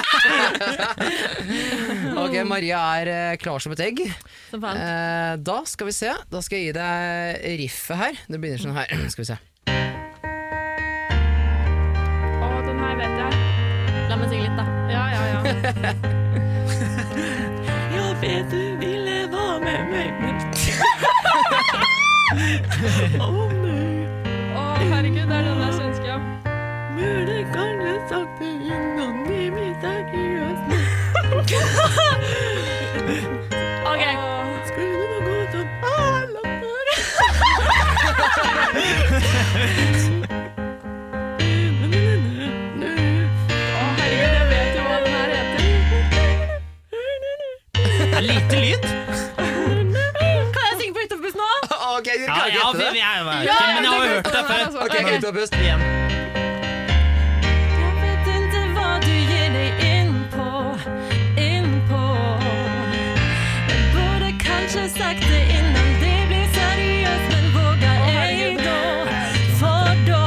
[SPEAKER 6] Ok, Maria er eh, klar som et egg.
[SPEAKER 9] Som faen.
[SPEAKER 6] Eh, da skal vi se. Da skal jeg gi deg riffet her. Det begynner sånn her. Skal vi se.
[SPEAKER 8] Å, den her vet jeg.
[SPEAKER 9] La meg synge litt, da.
[SPEAKER 8] Ja, ja, ja.
[SPEAKER 9] Jeg vet du ville være med meg
[SPEAKER 8] Å, herregud, det er den der svenske. ja.
[SPEAKER 9] Mulig kan jeg snakke innom i min
[SPEAKER 5] jeg vet
[SPEAKER 8] Ja,
[SPEAKER 5] ikke,
[SPEAKER 8] ja,
[SPEAKER 5] men jeg har
[SPEAKER 8] det
[SPEAKER 5] hørt
[SPEAKER 8] kan
[SPEAKER 5] det
[SPEAKER 8] være sånn.
[SPEAKER 5] før.
[SPEAKER 8] Ok,
[SPEAKER 6] Gutta pust.
[SPEAKER 5] Igjen.
[SPEAKER 9] Jeg vet ikke hva du gir deg inn på, inn på. Jeg burde kanskje sagt det innan det blir seriøst, men våger jeg
[SPEAKER 10] herregud.
[SPEAKER 9] da? For da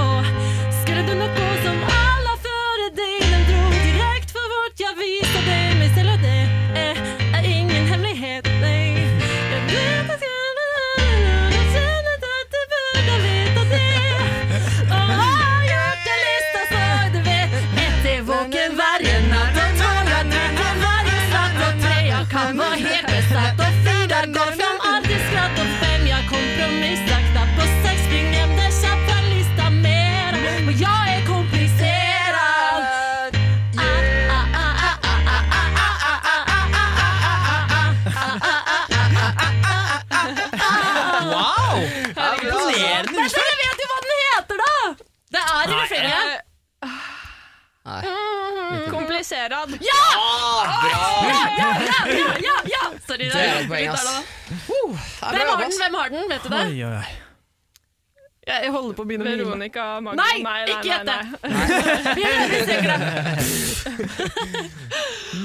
[SPEAKER 9] skulle du nok gå som alle før deg. Den dro direkte for vårt, jeg viser deg meg selv, og det er, er ingen hemmelighet, nei. Jeg vet at jeg har kjennet at du burde vite det. Og har gjort en lista så du vet Etter våken hver natt Og tåler drikker hver natt Og tre jeg kan var helt besatt Og fire går fram alltid skratt Og fem jeg kompromisser knapp Og seks blir nevnte kjapt fra lista mer Og jeg er kompliseret
[SPEAKER 6] Ah,
[SPEAKER 5] Wow! Imponerende utført.
[SPEAKER 8] Jeg vet jo hva den heter, da! Det er i refrenget. Mm,
[SPEAKER 10] Kompliserad.
[SPEAKER 8] Ja, ja, ja! Sorry,
[SPEAKER 6] Det er
[SPEAKER 8] det
[SPEAKER 6] et
[SPEAKER 8] er
[SPEAKER 6] poeng, ass.
[SPEAKER 8] Hvem har den? Hvem har den? Vet du det?
[SPEAKER 5] Oi, oi, oi.
[SPEAKER 8] Jeg holder på å begynne
[SPEAKER 10] Veronica Magnum.
[SPEAKER 8] Nei, ikke gjett det. Vi vi søker den.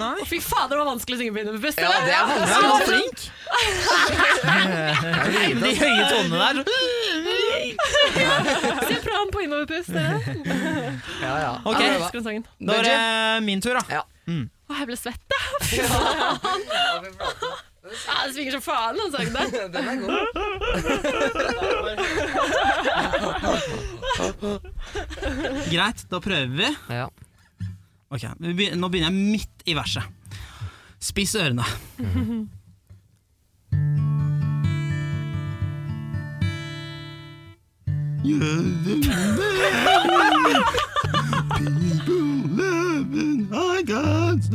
[SPEAKER 8] Å, Fy fader, det var vanskelig å synge på innebust.
[SPEAKER 6] Ja, det er
[SPEAKER 5] Du
[SPEAKER 6] vanskelig.
[SPEAKER 5] var flink. De høye tonene der.
[SPEAKER 8] Se fra ham på innoverpust, dere.
[SPEAKER 6] Ja, ja.
[SPEAKER 5] Ok,
[SPEAKER 8] Jeg elsker den sangen.
[SPEAKER 5] Da er det min tur, da.
[SPEAKER 6] Ja.
[SPEAKER 8] Å, jeg ble svett, da. Fy faen. Ja, det svinger som faen, den sangen der.
[SPEAKER 6] Den er god.
[SPEAKER 5] Greit, da prøver vi.
[SPEAKER 6] Ja.
[SPEAKER 5] Ok, vi begy- Nå begynner jeg midt i verset. Spiss ørene. Vent,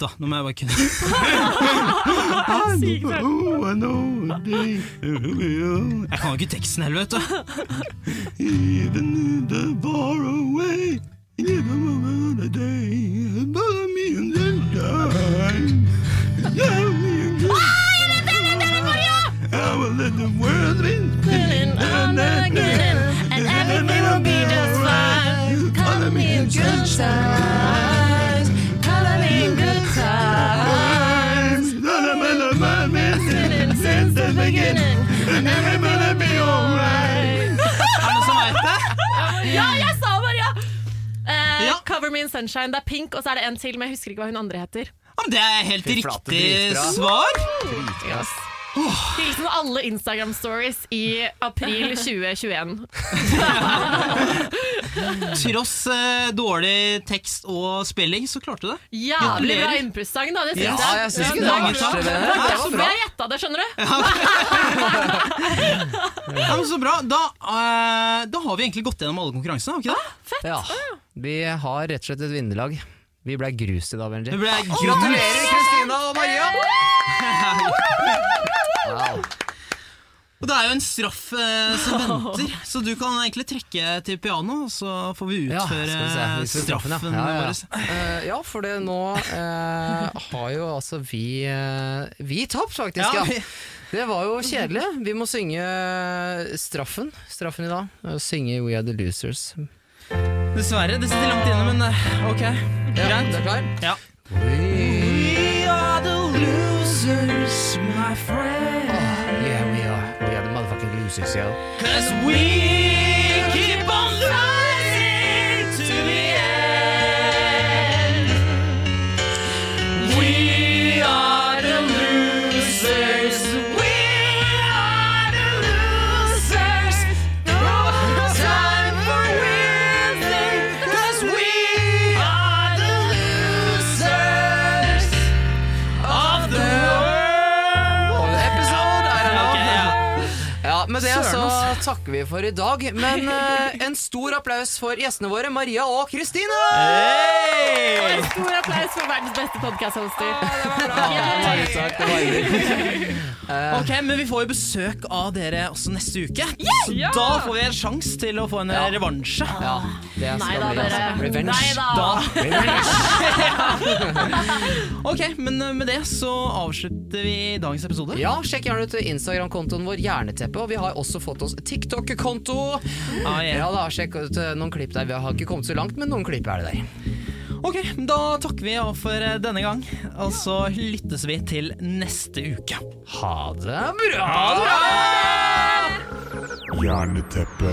[SPEAKER 5] da. Nå må jeg bare kunne Jeg kan jo ikke teksten heller, vet du. Er det noen som vet det?
[SPEAKER 8] Ja, jeg sa bare ja! Eh,
[SPEAKER 5] Ja.
[SPEAKER 8] Cover Me in Sunshine, det er Pink, og så er det en til, men jeg husker ikke hva hun andre heter.
[SPEAKER 5] Ja, men Det er helt
[SPEAKER 6] Fy flate,
[SPEAKER 5] riktig
[SPEAKER 6] dritbra.
[SPEAKER 5] svar.
[SPEAKER 6] Yes.
[SPEAKER 8] Hilsen alle Instagram-stories i april 2021.
[SPEAKER 5] Tross eh, dårlig tekst og spilling, så klarte du det.
[SPEAKER 8] Jævlig bra
[SPEAKER 5] Gratulerer.
[SPEAKER 8] innpustsang, da. Det syns
[SPEAKER 6] Ja,
[SPEAKER 8] jeg.
[SPEAKER 6] jeg syns
[SPEAKER 5] Ja,
[SPEAKER 6] ikke det var
[SPEAKER 5] mange
[SPEAKER 6] verst.
[SPEAKER 5] takk.
[SPEAKER 6] det.
[SPEAKER 8] Det var
[SPEAKER 6] Det var
[SPEAKER 8] derfor
[SPEAKER 6] bra.
[SPEAKER 8] jeg gjetta det, skjønner du.
[SPEAKER 5] Ja, men Så bra. Da, eh, da har vi egentlig gått gjennom alle konkurransene. har vi ikke det?
[SPEAKER 6] Ja. Vi har rett og slett et vinnerlag. Vi ble grus i dag, Benji.
[SPEAKER 5] Det ble
[SPEAKER 6] Gratulerer,
[SPEAKER 5] grus.
[SPEAKER 6] Kristina og Maria! Wow.
[SPEAKER 5] Og det er jo en straff eh, som venter, så du kan egentlig trekke til piano, og så får vi
[SPEAKER 6] Ja, skal vi
[SPEAKER 5] utføre
[SPEAKER 6] se. Vi skal
[SPEAKER 5] eh, straffen
[SPEAKER 6] straffen, ja. Ja, ja, ja.
[SPEAKER 5] vår.
[SPEAKER 6] Eh, ja, for det nå eh, har jo altså vi eh, Vi tapt, faktisk.
[SPEAKER 5] Ja,
[SPEAKER 6] Ja.
[SPEAKER 5] vi-
[SPEAKER 6] Det var jo kjedelig. Vi må synge straffen Straffen i dag. Og synge We Are The Losers.
[SPEAKER 5] Dessverre. Det sitter langt inne, men eh, ok. Greit.
[SPEAKER 6] er klar?
[SPEAKER 5] Ja. We are the losers, my friend.
[SPEAKER 6] Yeah, we are. We are the motherfucking losers, yo.
[SPEAKER 5] Cause we keep on rising to the end. We are the losers. We are the losers. No time for winning. Cause we are the losers of the world.
[SPEAKER 6] Episode, I don't know.
[SPEAKER 5] Ok, ja.
[SPEAKER 6] Ja, Med det
[SPEAKER 5] Søren,
[SPEAKER 6] så takker vi for i dag. Men eh, en stor applaus for gjestene våre, Maria og Kristina!
[SPEAKER 5] Hey!
[SPEAKER 8] Stor applaus for hver
[SPEAKER 9] verdens beste podkast-hoster.
[SPEAKER 6] Takk, takk, det var hyggelig.
[SPEAKER 5] Ok, Men vi får jo besøk av dere også neste uke, så
[SPEAKER 8] Ja!
[SPEAKER 5] da får vi en sjanse til å få en
[SPEAKER 6] Ja.
[SPEAKER 5] revansje.
[SPEAKER 6] Ja, det
[SPEAKER 9] Nei
[SPEAKER 6] skal
[SPEAKER 9] da,
[SPEAKER 6] bli
[SPEAKER 9] dere.
[SPEAKER 6] altså. revenge.
[SPEAKER 9] Nei da.
[SPEAKER 5] Da. Ok, men eh, med det så avslutter vi dagens episode.
[SPEAKER 6] Ja, sjekk gjerne ut Instagram-kontoen vår Hjerneteppe, og vi har også fått oss TikTok-konto.
[SPEAKER 5] Ah, ja.
[SPEAKER 6] Ja da, sjekk ut eh, noen klipp der. Vi har ikke kommet så langt, men noen klipp er det der.
[SPEAKER 5] Ok, da takker vi av for eh, denne gang, og så lyttes vi til neste uke.
[SPEAKER 6] Ha det bra!
[SPEAKER 7] Hjerneteppe.